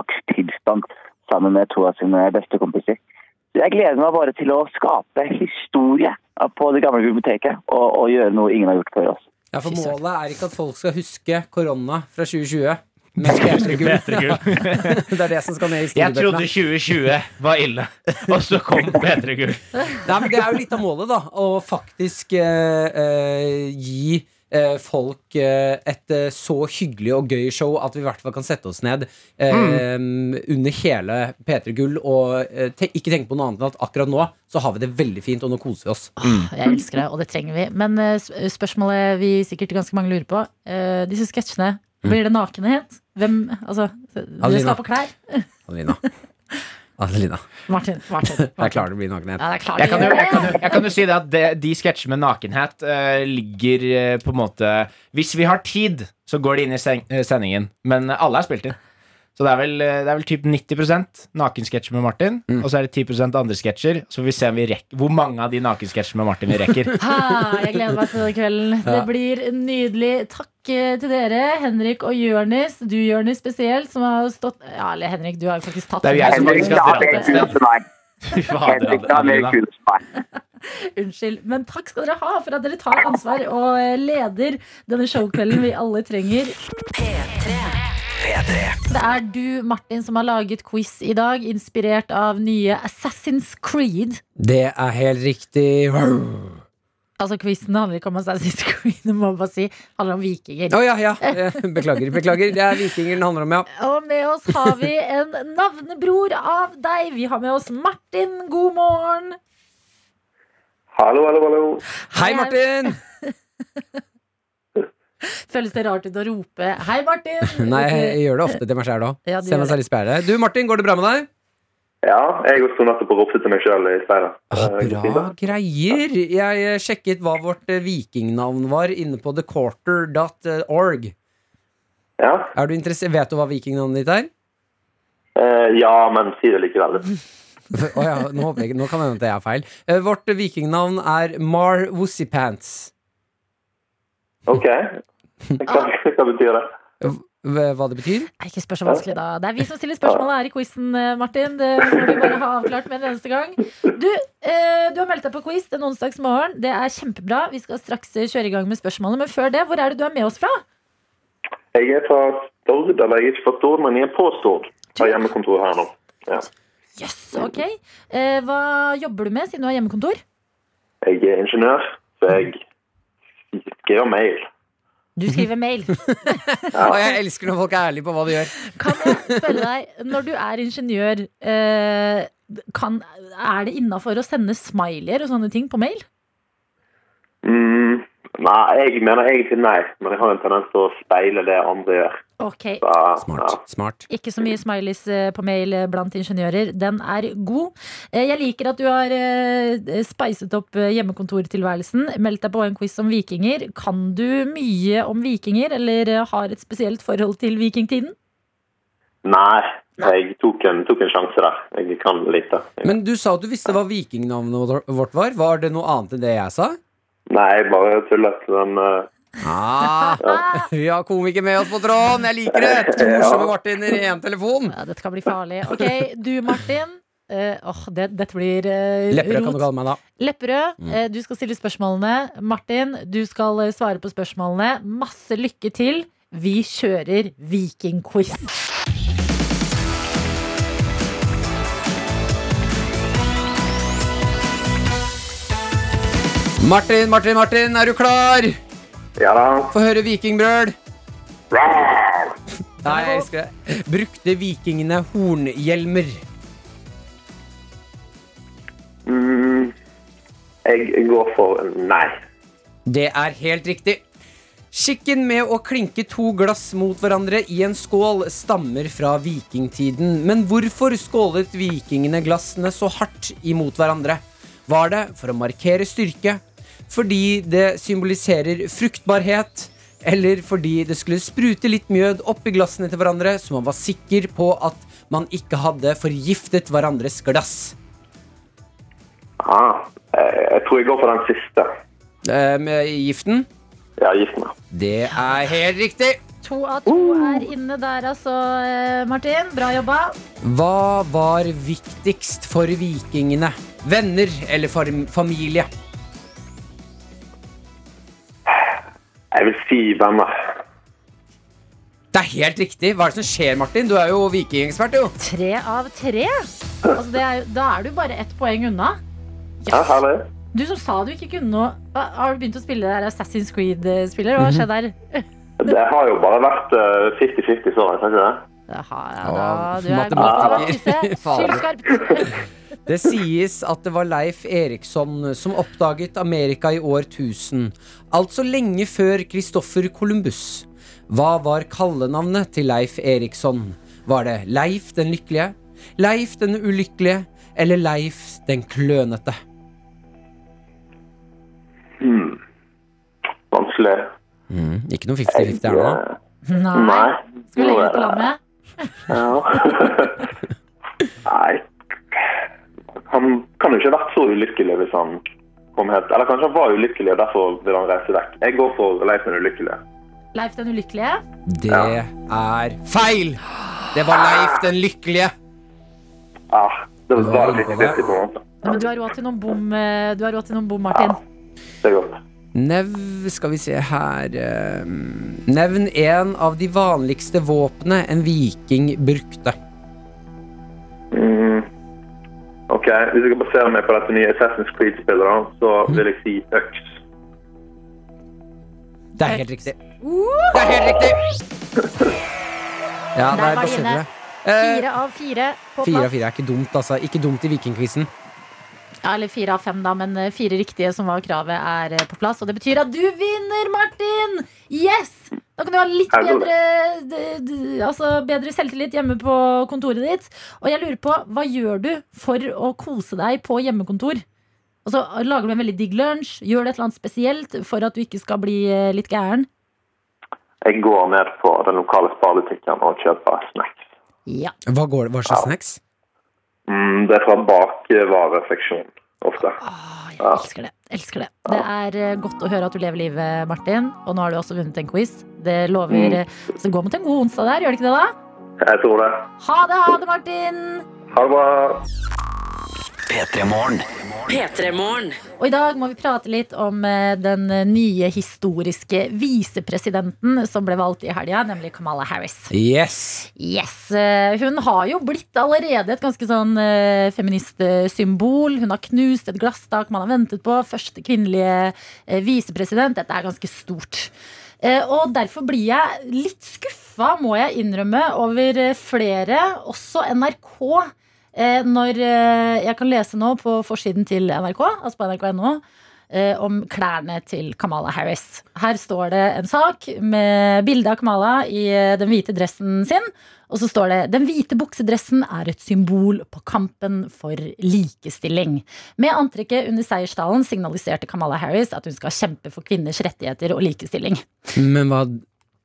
[SPEAKER 8] unntakstilstand sammen med to av sine beste kompiser. Så Jeg gleder meg bare til å skape historie på det gamle biblioteket og, og gjøre noe ingen har gjort før oss.
[SPEAKER 3] Ja, for målet er ikke at folk skal huske korona fra 2020. Men P3-gull,
[SPEAKER 7] P3-gull.
[SPEAKER 3] det er det som skal ned i
[SPEAKER 7] Jeg trodde
[SPEAKER 3] historiebøkene.
[SPEAKER 7] 2020 var ille, og så kom P3-gull.
[SPEAKER 3] Nei, men Det er jo litt av målet, da. Å faktisk eh, eh, gi eh, folk eh, et eh, så hyggelig og gøy show at vi i hvert fall kan sette oss ned eh, under hele P3 Gull og eh, te ikke tenke på noe annet enn at akkurat nå så har vi det veldig fint, og nå koser vi oss.
[SPEAKER 7] Mm.
[SPEAKER 2] Ah, Jeg elsker det, og det trenger vi. Men eh, sp- spørsmålet vi sikkert ganske mange lurer på, eh, disse sketsjene,
[SPEAKER 7] Mm.
[SPEAKER 2] blir det nakenhet? Hvem Altså, dere skal på klær?
[SPEAKER 3] Adelina. Adelina.
[SPEAKER 2] Martin. Martin.
[SPEAKER 3] Jeg klarer det blir nakenhet.
[SPEAKER 2] Ja, det er klart.
[SPEAKER 7] Jeg kan jo, jeg kan jo, jeg kan jo si det at det, de sketsjene med nakenhet eh, ligger eh, på en måte Hvis vi har tid, så går det inn i sen eh, sendingen. Men alle er spilt inn. Så det er vel, eh, det er vel typ 90 nakensketsjer med Martin, og så er det 10 andre sketsjer. Så får vi se om vi rekker, hvor mange av de nakensketsjene med Martin vi rekker.
[SPEAKER 2] Ha, jeg gleder meg til den kvelden. Det blir nydelig. Takk eh, til dere, Henrik og Jørnis. Du, Jørnis, spesielt, som har stått Ja, eller Henrik, du har jo faktisk tatt
[SPEAKER 7] Det er jo jeg som
[SPEAKER 8] Henrik,
[SPEAKER 7] faktisk
[SPEAKER 8] du
[SPEAKER 7] har
[SPEAKER 8] har
[SPEAKER 7] dratt
[SPEAKER 8] mer
[SPEAKER 7] et
[SPEAKER 8] kudos
[SPEAKER 7] sted.
[SPEAKER 8] enn meg.
[SPEAKER 7] Fy fader,
[SPEAKER 8] Henrik, du har mer
[SPEAKER 7] Adelina.
[SPEAKER 8] kudos enn meg.
[SPEAKER 2] Unnskyld. Men takk skal dere ha for at dere tar ansvar og eh, leder denne showkvelden vi alle trenger. Det er du, Martin, som har laget quiz i dag, inspirert av nye Assassin's Creed.
[SPEAKER 3] Det er helt riktig. Å
[SPEAKER 2] Altså, quizen handler ikke om Assassin's Creed, det må jeg bare si. Det handler om vikinger.
[SPEAKER 3] ja, ja. Eh, Beklager. beklager Det er vikinger den handler om, ja.
[SPEAKER 2] Og med oss har vi en navnebror av deg. Vi har med oss Martin. God morgen.
[SPEAKER 9] Hallo, hallo, hallo.
[SPEAKER 3] Hei, Martin!
[SPEAKER 2] Føles det rart ut å rope 'Hei, Martin'?
[SPEAKER 3] Nei, jeg gjør det ofte til meg sjæl òg.
[SPEAKER 2] Ja, du
[SPEAKER 3] Ser meg
[SPEAKER 2] gjør
[SPEAKER 3] selv i speilet. Du, Martin, går det bra med deg?
[SPEAKER 9] Ja, jeg også nettopp og ropte til meg sjøl i speilet.
[SPEAKER 3] Ah,
[SPEAKER 9] Eh, går
[SPEAKER 3] Bra
[SPEAKER 9] fint,
[SPEAKER 3] greier. Jeg eh, sjekket hva vårt eh, vikingnavn var inne på thequarter.org.
[SPEAKER 9] da. Ja.
[SPEAKER 3] Er du interessert? Vet du hva vikingnavnet ditt er?
[SPEAKER 9] Eh, ja, men si det likevel.
[SPEAKER 3] Å ja, nå, håper jeg, ikke- nå kan det hende at jeg har feil. Eh, Vårt eh, vikingnavn er Mar Wussipants.
[SPEAKER 9] OK. Hva, hva betyr det?
[SPEAKER 3] Hva det betyr?
[SPEAKER 2] Nei, ikke spør så vanskelig, da. Det er vi som stiller spørsmålet her i quizen, eh, Martin. Det må vi bare ha avklart med en eneste gang. Du, eh, du har meldt deg på quiz en onsdagsmorgen. Det er kjempebra. Vi skal straks eh, kjøre i gang med spørsmålet, men før det, hvor er det du er med oss fra?
[SPEAKER 9] Jeg er fra Stord, eller jeg er ikke fra Stord, men jeg er på Stord. Har hjemmekontor her nå. Ja.
[SPEAKER 2] Jøss, ok. Eh, Hva jobber du med, siden du har hjemmekontor?
[SPEAKER 9] Jeg er ingeniør, så jeg skriver mail.
[SPEAKER 2] Du skriver mail.
[SPEAKER 3] Og jeg elsker når folk er ærlige på hva de gjør.
[SPEAKER 2] Kan jeg spørre deg, når du er ingeniør, eh, kan, er det innafor å sende smileyer og sånne ting på mail?
[SPEAKER 9] Mm, nei, jeg mener egentlig nei, men jeg har en tendens til å speile det andre gjør.
[SPEAKER 2] Ok,
[SPEAKER 9] Så, ja.
[SPEAKER 3] Smart. Smart.
[SPEAKER 2] ikke så mye smileys eh, på mail eh, blant ingeniører. Den er god. Eh, Jeg liker at du har eh, speiset opp eh, hjemmekontortilværelsen. Meldt deg på en quiz om vikinger. Kan du mye om vikinger, eller eh, har et spesielt forhold til vikingtiden?
[SPEAKER 9] Nei, jeg tok en, tok en sjanse der. Jeg kan lite.
[SPEAKER 3] Men du sa at du visste hva vikingnavnet vårt var. Var det noe annet enn det jeg sa?
[SPEAKER 9] Nei, jeg bare tullet. Men eh,
[SPEAKER 3] Ah, vi har komiker med oss på tråden. Jeg liker det! To morsomme Martiner i én telefon.
[SPEAKER 2] Ja, dette kan bli farlig. Ok, du Martin. Eh, Åh, det, dette blir eh,
[SPEAKER 3] Lepperød kan
[SPEAKER 2] rot.
[SPEAKER 3] du kalle meg da.
[SPEAKER 2] Lepperød,
[SPEAKER 3] Mm.
[SPEAKER 2] eh, du skal stille spørsmålene. Martin, du skal eh, svare på spørsmålene. Masse lykke til. Vi kjører vikingquiz.
[SPEAKER 3] Martin, Martin, Martin, er du klar?
[SPEAKER 9] ja da.
[SPEAKER 3] Få høre vikingbrøl. Nei, jeg elsker det. Brukte vikingene hornhjelmer?
[SPEAKER 9] Mm, jeg går for nei.
[SPEAKER 3] Det er helt riktig. Skikken med å klinke to glass mot hverandre i en skål stammer fra vikingtiden. Men hvorfor skålet vikingene glassene så hardt imot hverandre? Var det for å markere styrke? Fordi det symboliserer fruktbarhet? Eller fordi det skulle sprute litt mjød oppi glassene til hverandre, så man var sikker på at man ikke hadde forgiftet hverandres glass?
[SPEAKER 9] Ah, eh, jeg tror jeg går for den siste.
[SPEAKER 3] Eh, Med giften?
[SPEAKER 9] Ja, gift meg.
[SPEAKER 3] Det er helt riktig!
[SPEAKER 2] To av to er inne der, altså, eh, Martin. Bra jobba.
[SPEAKER 3] Hva var viktigst for vikingene? Venner eller fam- familie?
[SPEAKER 9] Jeg vil si venner.
[SPEAKER 3] Det er helt riktig. Hva er det som skjer, Martin? Du er jo vikingekspert, jo.
[SPEAKER 2] Tre av tre? Altså, det er, da er du bare ett poeng unna.
[SPEAKER 9] Ja, herlig.
[SPEAKER 2] Du som sa du ikke kunne noe Hva- Har du begynt å spille det der Assassin's Creed-spiller? Hva har skjedd der?
[SPEAKER 9] Det har jo bare vært eh, 50-50 så langt, har ikke det?
[SPEAKER 2] Jaha, ja da.
[SPEAKER 3] Ja,
[SPEAKER 2] Du er god til
[SPEAKER 3] matematiker.
[SPEAKER 2] å matematikk.
[SPEAKER 3] Fader.
[SPEAKER 2] Sylskarpt.
[SPEAKER 3] Det sies at det var Leif Eriksson som oppdaget Amerika i år 1000, altså lenge før Kristoffer Columbus. Hva var kallenavnet til Leif Eriksson? Var det Leif den lykkelige, Leif den ulykkelige eller Leif den klønete?
[SPEAKER 9] Hmm. Vanskelig.
[SPEAKER 3] Mm,
[SPEAKER 9] Eh,
[SPEAKER 3] Ikke noe fifty-fifty her nå.
[SPEAKER 2] Nei.
[SPEAKER 9] Nei.
[SPEAKER 2] Skal vi legge det på landet?
[SPEAKER 9] Ja. Nei. Han kan jo ikke ha vært så ulykkelig hvis han kom helt Eller kanskje han var ulykkelig, og derfor ville han reise vekk. Jeg går for Leif den ulykkelige.
[SPEAKER 2] Leif den ulykkelige?
[SPEAKER 3] Det er feil! Det var Leif den lykkelige.
[SPEAKER 9] Ah, det
[SPEAKER 3] Det
[SPEAKER 9] var
[SPEAKER 3] var
[SPEAKER 9] bare litt
[SPEAKER 3] det.
[SPEAKER 9] vittig på en måte.
[SPEAKER 2] Ja, men du har råd til noen bom, eh, du har råd til noen bom Martin.
[SPEAKER 9] Det er godt.
[SPEAKER 3] Nevn Skal vi se her eh, Nevn en av de vanligste våpnene en viking brukte.
[SPEAKER 9] Mm. Ok, Hvis jeg skal basere meg på dette nye Assassin's Creed-spillet, da, så
[SPEAKER 3] Mhm.
[SPEAKER 9] vil jeg si øks.
[SPEAKER 3] Det er helt riktig. Det er helt riktig!
[SPEAKER 2] Der
[SPEAKER 3] Ja, der
[SPEAKER 2] var
[SPEAKER 3] baserer
[SPEAKER 2] det
[SPEAKER 3] du
[SPEAKER 2] inne.
[SPEAKER 3] det. Eh,
[SPEAKER 2] Fire av fire på
[SPEAKER 3] Fire av
[SPEAKER 2] plass.
[SPEAKER 3] fire er ikke dumt, altså. Ikke dumt i vikingquizen.
[SPEAKER 2] Ja, eller fire av fem, da, men eh, fire riktige som var kravet, er eh, på plass. Og det betyr at du vinner, Martin! Yes! Da kan du ha litt
[SPEAKER 9] Er det
[SPEAKER 2] bedre, d- d- altså bedre selvtillit hjemme på kontoret ditt. Og jeg lurer på, hva gjør du for å kose deg på hjemmekontor? Altså, Lager du en veldig digg lunsj? Gjør du et eller annet spesielt for at du ikke skal bli eh, litt gæren?
[SPEAKER 9] Jeg går ned på den lokale sparebutikken og kjøper snacks.
[SPEAKER 2] Ja.
[SPEAKER 3] Hva, går, hva slags snacks?
[SPEAKER 9] Mm, det er fra bakvareseksjonen ofte.
[SPEAKER 2] Åh, jeg elsker det. elsker Det Det er eh, godt å høre at du lever livet, Martin. Og nå har du også vunnet en quiz. Det lover eh, Så gå mot en god onsdag der, gjør det ikke det, da?
[SPEAKER 9] Jeg tror det.
[SPEAKER 2] Ha det, ha det, Martin!
[SPEAKER 9] Ha det bra.
[SPEAKER 5] P3-morgen.
[SPEAKER 2] Og i dag må vi prate litt om eh, den nye historiske visepresidenten som ble valgt i helga, nemlig Kamala Harris.
[SPEAKER 3] Yes!
[SPEAKER 2] Yes, eh, Hun har jo blitt allerede et ganske sånn eh, feministsymbol. Hun har knust et glasstak man har ventet på. Første kvinnelige eh, visepresident. Dette er ganske stort. Eh, og derfor blir jeg litt skuffa, må jeg innrømme, over eh, flere, også NRK. eh, Når eh, jeg kan lese nå på forsiden til NRK, altså på nrk.no, eh, om klærne til Kamala Harris. Her står det en sak med bilde av Kamala i eh, den hvite dressen sin. Og så står det den hvite buksedressen er et symbol på kampen for likestilling. Med antrekket under seiersdalen signaliserte Kamala Harris at hun skal kjempe for kvinners rettigheter og likestilling.
[SPEAKER 3] Men hva,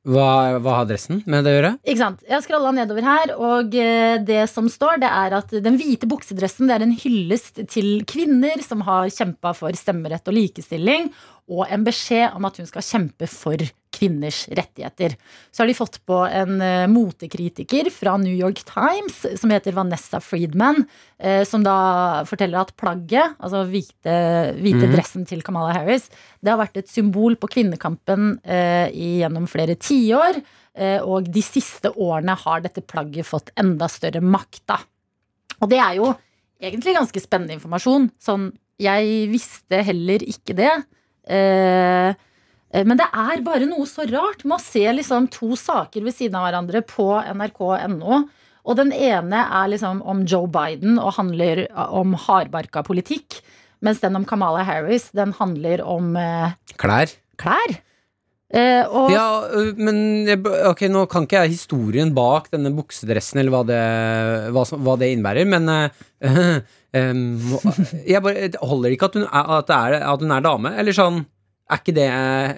[SPEAKER 3] hva, hva har dressen med det å gjøre?
[SPEAKER 2] Ikke sant? Jeg scrolla nedover her, og eh, det som står, det er at den hvite buksedressen det er en hyllest til kvinner som har kjempa for stemmerett og likestilling, og en beskjed om at hun skal kjempe for kvinners rettigheter. Så har de fått på en eh, motekritiker fra New York Times som heter Vanessa Friedman, eh, som da forteller at plagget, altså hvite, hvite dressen til Kamala Harris, det har vært et symbol på kvinnekampen eh, i- gjennom flere tiår. Eh, Og de siste årene har dette plagget fått enda større makt. Da. Og det er jo egentlig ganske spennende informasjon. Sånn, jeg visste heller ikke det. Eh, eh, Men det er bare noe så rart med å se liksom to saker ved siden av hverandre på nrk.no. Og den ene er liksom om Joe Biden og handler eh, om hardbarka politikk. Mens den om Kamala Harris, den handler om eh,
[SPEAKER 3] Klær?
[SPEAKER 2] klær. Eh, og
[SPEAKER 3] Ja, øh, men jeg b- ok, nå kan ikke jeg historien bak denne buksedressen eller hva det, hva som, hva det innebærer, men øh, em, må- jeg bare, det holder ikke at hun, er, at, det er, at hun er dame, eller sånn, er ikke det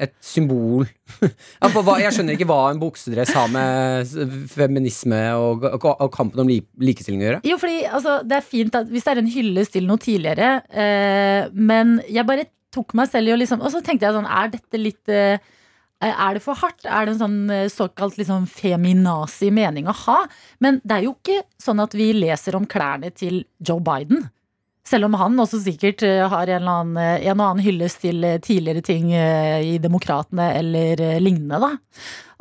[SPEAKER 3] et symbol? Ja, for hva, jeg skjønner ikke hva en buksedress har med s- feminisme og, og, og kampen om li, likestilling å gjøre.
[SPEAKER 2] Jo, fordi altså, det er fint at hvis det er en hyllest til noe tidligere, eh, men jeg bare tok meg selv i å liksom Og så tenkte jeg sånn, er dette litt eh, Er det for hardt? Er det en sånn eh, såkalt liksom feminazi mening å ha? Men det er jo ikke sånn at vi leser om klærne til Joe Biden. Selv om han også sikkert eh, har en eller annen, eh, en og annen hyllest til eh, tidligere ting eh, i Demokratene eller eh, lignende, da.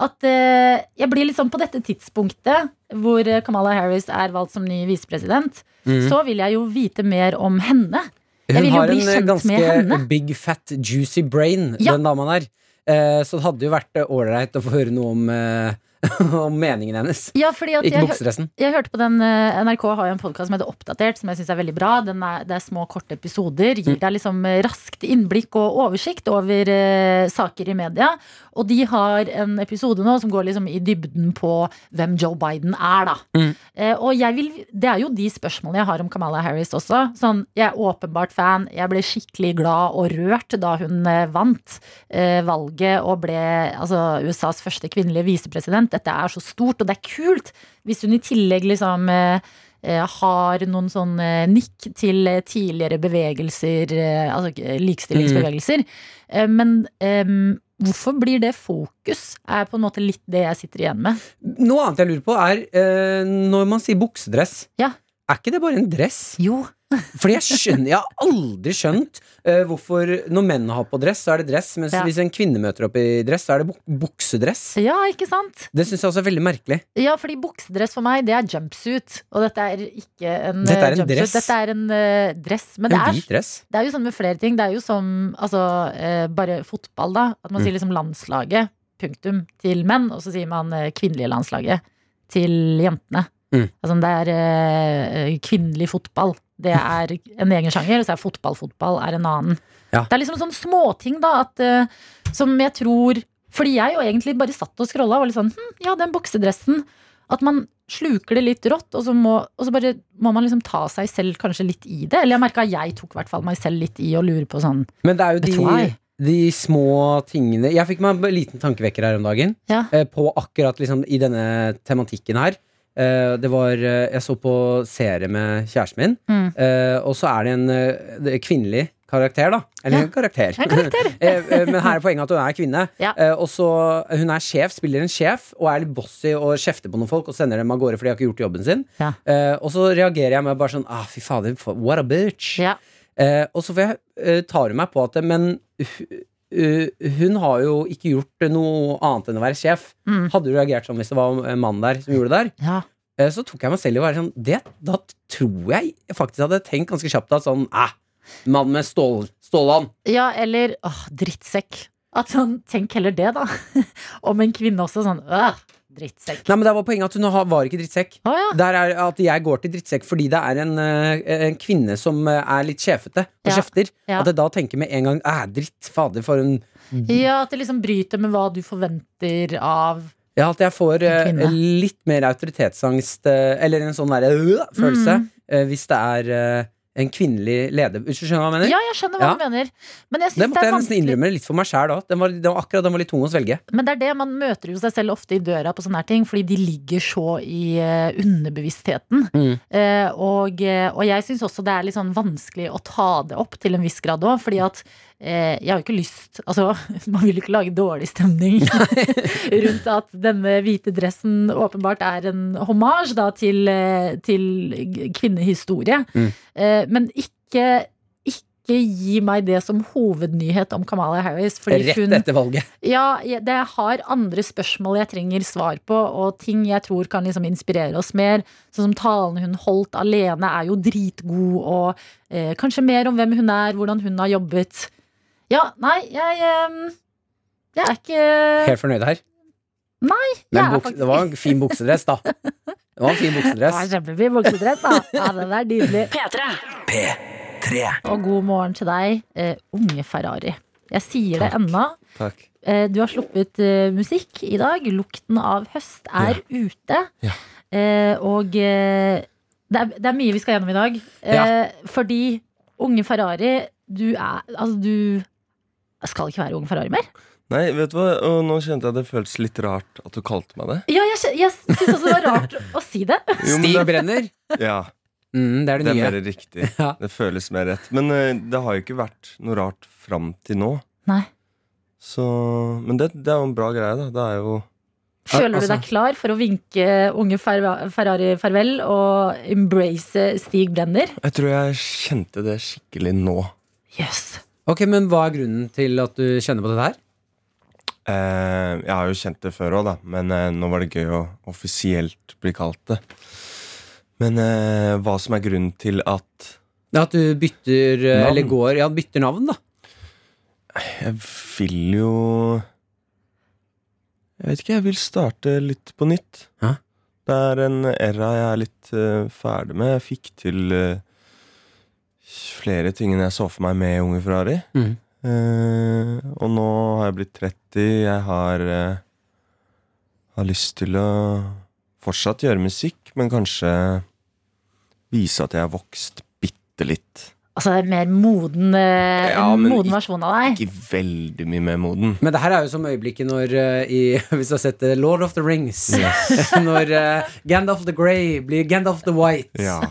[SPEAKER 2] At eh, jeg blir litt sånn på dette tidspunktet, hvor eh, Kamala Harris er valgt som ny visepresident, så vil jeg jo vite mer om henne. Jeg
[SPEAKER 3] Mm. Hun
[SPEAKER 2] vil jo
[SPEAKER 3] har
[SPEAKER 2] bli
[SPEAKER 3] en eh,
[SPEAKER 2] kjent med
[SPEAKER 3] ganske
[SPEAKER 2] henne.
[SPEAKER 3] big fat juicy brain,
[SPEAKER 2] Ja.
[SPEAKER 3] den dama der. Eh, Så det hadde jo vært eh, ålreit å få høre noe om, eh, om meningen hennes.
[SPEAKER 2] Ja, fordi at
[SPEAKER 3] Ikke
[SPEAKER 2] jeg, hø-
[SPEAKER 3] buksedressen.
[SPEAKER 2] jeg hørte på den eh, NRK har jo en podkast som heter Oppdatert, som jeg syns er veldig bra. Den er, det er små, korte episoder. Gir deg liksom eh, raskt innblikk og oversikt over eh, saker i media. Og de har en episode nå som går liksom i dybden på hvem Joe Biden er, da.
[SPEAKER 3] Mm.
[SPEAKER 2] Eh, og jeg vil, det er jo de spørsmålene jeg har om Kamala Harris også. Sånn, jeg er åpenbart fan. Jeg ble skikkelig glad og rørt da hun eh, vant eh, valget og ble altså, USAs første kvinnelige visepresident. Dette er så stort, og det er kult hvis hun i tillegg liksom eh, eh, har noen sånn eh, nikk til eh, tidligere bevegelser, eh, altså eh, likestillingsbevegelser. Eh, men ehm, hvorfor blir det fokus? Er på en måte litt det jeg sitter igjen med.
[SPEAKER 3] Noe annet jeg lurer på, er eh, når man sier buksedress,
[SPEAKER 2] Ja.
[SPEAKER 3] er ikke det bare en dress?
[SPEAKER 2] Jo,
[SPEAKER 3] Fordi jeg skjønner, jeg har aldri skjønt eh, hvorfor når menn har på dress, så er det dress, mens
[SPEAKER 2] Ja.
[SPEAKER 3] hvis en kvinne møter opp i dress, så er det bu- buksedress.
[SPEAKER 2] ja, ikke sant?
[SPEAKER 3] Det syns jeg også er veldig merkelig.
[SPEAKER 2] Ja, fordi buksedress for meg, det er jumpsuit. Og dette er ikke en,
[SPEAKER 3] Dette
[SPEAKER 2] eh,
[SPEAKER 3] er en
[SPEAKER 2] jumpsuit.
[SPEAKER 3] dress.
[SPEAKER 2] Dette er en eh, dress. Men det
[SPEAKER 3] En
[SPEAKER 2] er,
[SPEAKER 3] hvit dress.
[SPEAKER 2] det er jo sånn med flere ting. Det er jo som altså, eh, bare fotball, da. At
[SPEAKER 3] Mm.
[SPEAKER 2] man sier liksom landslaget, punktum, til menn. Og så sier man eh, kvinnelige landslaget til jentene.
[SPEAKER 3] Mm.
[SPEAKER 2] Altså det er eh, kvinnelig fotball. Det er en egen sjanger, og så er fotball-fotball er en annen.
[SPEAKER 3] Ja.
[SPEAKER 2] Det er liksom sånne småting, da, at, eh, som jeg tror Fordi jeg jo egentlig bare satt og scrolla og var litt sånn hm, ja, den boksedressen. At man sluker det litt rått, og så må, og så bare, må man liksom ta seg selv kanskje litt i det. Eller jeg merka jeg tok i hvert fall meg selv litt i å lure på sånn
[SPEAKER 3] Men det er jo
[SPEAKER 2] Vet du
[SPEAKER 3] de,
[SPEAKER 2] hva?
[SPEAKER 3] de små tingene Jeg fikk meg en liten tankevekker her om dagen.
[SPEAKER 2] Ja.
[SPEAKER 3] eh, På akkurat liksom i denne tematikken her. Eh, Det var eh, Jeg så på serie med kjæresten min,
[SPEAKER 2] Mm.
[SPEAKER 3] eh, og så er det en eh, det er kvinnelig karakter, da. Eller
[SPEAKER 2] Ja.
[SPEAKER 3] en karakter.
[SPEAKER 2] En karakter!
[SPEAKER 3] Eh, eh, Men her er poenget at hun er kvinne.
[SPEAKER 2] Ja.
[SPEAKER 3] Eh, Og så Hun er sjef, spiller en sjef, og er litt bossy og kjefter på noen folk og sender dem av gårde for de har ikke gjort jobben sin.
[SPEAKER 2] Ja.
[SPEAKER 3] Eh, Og så reagerer jeg med bare sånn ah, Fy fader, for- what a bitch.
[SPEAKER 2] Ja.
[SPEAKER 3] Eh, og så får jeg, eh, tar hun meg på at Men hu- eh, hun har jo ikke gjort noe annet enn å være sjef.
[SPEAKER 2] Mm.
[SPEAKER 3] Hadde du reagert sånn hvis det var en mann der som gjorde det der?
[SPEAKER 2] ja.
[SPEAKER 3] Eh, Så tok jeg meg selv i å være sånn det, Da tror jeg faktisk hadde tenkt ganske kjapt at sånn eh, Mann med stål, stålhånd.
[SPEAKER 2] Ja, eller åh, drittsekk. At sånn, Tenk heller det, da. Om en kvinne også sånn åh, drittsekk.
[SPEAKER 3] Nei, men der var poenget at hun ha- var ikke drittsekk.
[SPEAKER 2] Å ja.
[SPEAKER 3] Der er at jeg går til drittsekk fordi det er en, eh, en kvinne som eh, er litt sjefete og
[SPEAKER 2] Ja,
[SPEAKER 3] kjefter.
[SPEAKER 2] ja.
[SPEAKER 3] At jeg da tenker med en gang Æh, dritt, fader, for en
[SPEAKER 2] ja, at det liksom bryter med hva du forventer av
[SPEAKER 3] Ja, at jeg får eh,
[SPEAKER 2] En kvinne.
[SPEAKER 3] litt mer autoritetsangst, eh, eller en sånn derre øh, følelse,
[SPEAKER 2] Mm.
[SPEAKER 3] eh, hvis det er eh, en kvinnelig leder. Hvis du skjønner hva jeg mener?
[SPEAKER 2] Ja, jeg skjønner hva
[SPEAKER 3] Ja.
[SPEAKER 2] du mener. Men jeg
[SPEAKER 3] det
[SPEAKER 2] synes det,
[SPEAKER 3] måtte
[SPEAKER 2] er
[SPEAKER 3] jeg nesten
[SPEAKER 2] vanskelig.
[SPEAKER 3] innrømme litt for meg sjæl òg. Den, var- den, var akkurat- den var litt tung å svelge.
[SPEAKER 2] Men det er det, man møter jo seg selv ofte i døra på sånne her ting, fordi de ligger så i eh, underbevisstheten.
[SPEAKER 3] Mm.
[SPEAKER 2] Eh, og, eh, og jeg syns også det er litt sånn vanskelig å ta det opp til en viss grad òg, fordi at eh, jeg har jo ikke lyst Altså, man vil jo ikke lage dårlig stemning rundt at denne hvite dressen åpenbart er en hommage da til, eh, til g- kvinnehistorie.
[SPEAKER 3] Mm.
[SPEAKER 2] Eh, men ikke ikke gi meg det som hovednyhet om Kamala Harris. Fordi
[SPEAKER 3] Rett
[SPEAKER 2] hun,
[SPEAKER 3] etter valget.
[SPEAKER 2] ja, jeg- det har andre spørsmål jeg trenger svar på, og ting jeg tror kan liksom inspirere oss mer. Sånn som talen hun holdt alene, er jo dritgod, og eh, kanskje mer om hvem hun er, hvordan hun har jobbet. Ja, nei, jeg eh, Jeg er ikke
[SPEAKER 3] Helt fornøyd her.
[SPEAKER 2] Eh, Nei,
[SPEAKER 3] Men
[SPEAKER 2] jeg er
[SPEAKER 3] buks-
[SPEAKER 2] faktisk-
[SPEAKER 3] det var en fin buksedress, da. Det var en fin
[SPEAKER 2] Det
[SPEAKER 3] buksedress.
[SPEAKER 2] var kjempefin buksedress, da. Ja, den er nydelig.
[SPEAKER 5] P3.
[SPEAKER 2] Og god morgen til deg, eh, unge Ferrari. Jeg sier det ennå.
[SPEAKER 3] Takk.
[SPEAKER 2] Eh, Du har sluppet eh, musikk i dag. Lukten av høst er ute. Eh, Og eh, det er, det er mye vi skal gjennom i dag. Eh, Fordi unge Ferrari, du er Altså, du skal ikke være unge Ferrari mer.
[SPEAKER 10] Nei, vet du hva? Og nå kjente jeg det føltes litt rart at du kalte meg det.
[SPEAKER 2] Ja, jeg, kje- jeg syns også det var rart å si det.
[SPEAKER 10] Jo, men
[SPEAKER 3] Stig
[SPEAKER 10] det,
[SPEAKER 3] Brenner.
[SPEAKER 10] ja,
[SPEAKER 3] Mm, det er
[SPEAKER 10] det
[SPEAKER 3] det
[SPEAKER 10] er
[SPEAKER 3] nye.
[SPEAKER 10] mer riktig.
[SPEAKER 3] Ja.
[SPEAKER 10] Det føles mer rett. Men eh, det har jo ikke vært noe rart fram til nå.
[SPEAKER 2] Nei.
[SPEAKER 10] Så, men det, det er jo en bra greie, da. Det er jo
[SPEAKER 2] Føler
[SPEAKER 3] Altså-
[SPEAKER 2] du deg klar for å vinke unge Fer- Ferrari farvel og embrace Stig Blender?
[SPEAKER 10] Jeg tror jeg kjente det skikkelig nå.
[SPEAKER 2] Yes.
[SPEAKER 3] Ok, Men hva er grunnen til at du kjenner på dette her?
[SPEAKER 10] Eh, jeg har jo kjent det før òg, da, men eh, nå var det gøy å offisielt bli kalt det. Men eh, hva som er grunnen til at
[SPEAKER 3] Ja, At du bytter eh,
[SPEAKER 10] Navn.
[SPEAKER 3] Eller går Ja, bytter navn, da.
[SPEAKER 10] Jeg vil jo Jeg vet ikke, jeg vil starte litt på nytt.
[SPEAKER 3] Hæ?
[SPEAKER 10] Det er en era jeg er litt eh, ferdig med. Jeg fikk til eh, flere ting enn jeg så for meg med Unge Ferrari.
[SPEAKER 3] Mhm.
[SPEAKER 10] Eh, og nå har jeg blitt 30. Jeg har, eh, har lyst til å fortsatt gjøre musikk, men kanskje vise at jeg har vokst bitte litt.
[SPEAKER 2] Altså en mer moden, eh,
[SPEAKER 10] Ja,
[SPEAKER 2] en
[SPEAKER 10] men
[SPEAKER 2] moden
[SPEAKER 10] ikke-
[SPEAKER 2] versjon av deg.
[SPEAKER 10] Ikke veldig mye mer moden.
[SPEAKER 3] Men det her er jo som øyeblikket når eh, i, Hvis du har sett eh, Lord of the Rings Når eh, Gandalf the Grey blir Gandalf the White
[SPEAKER 10] Ja.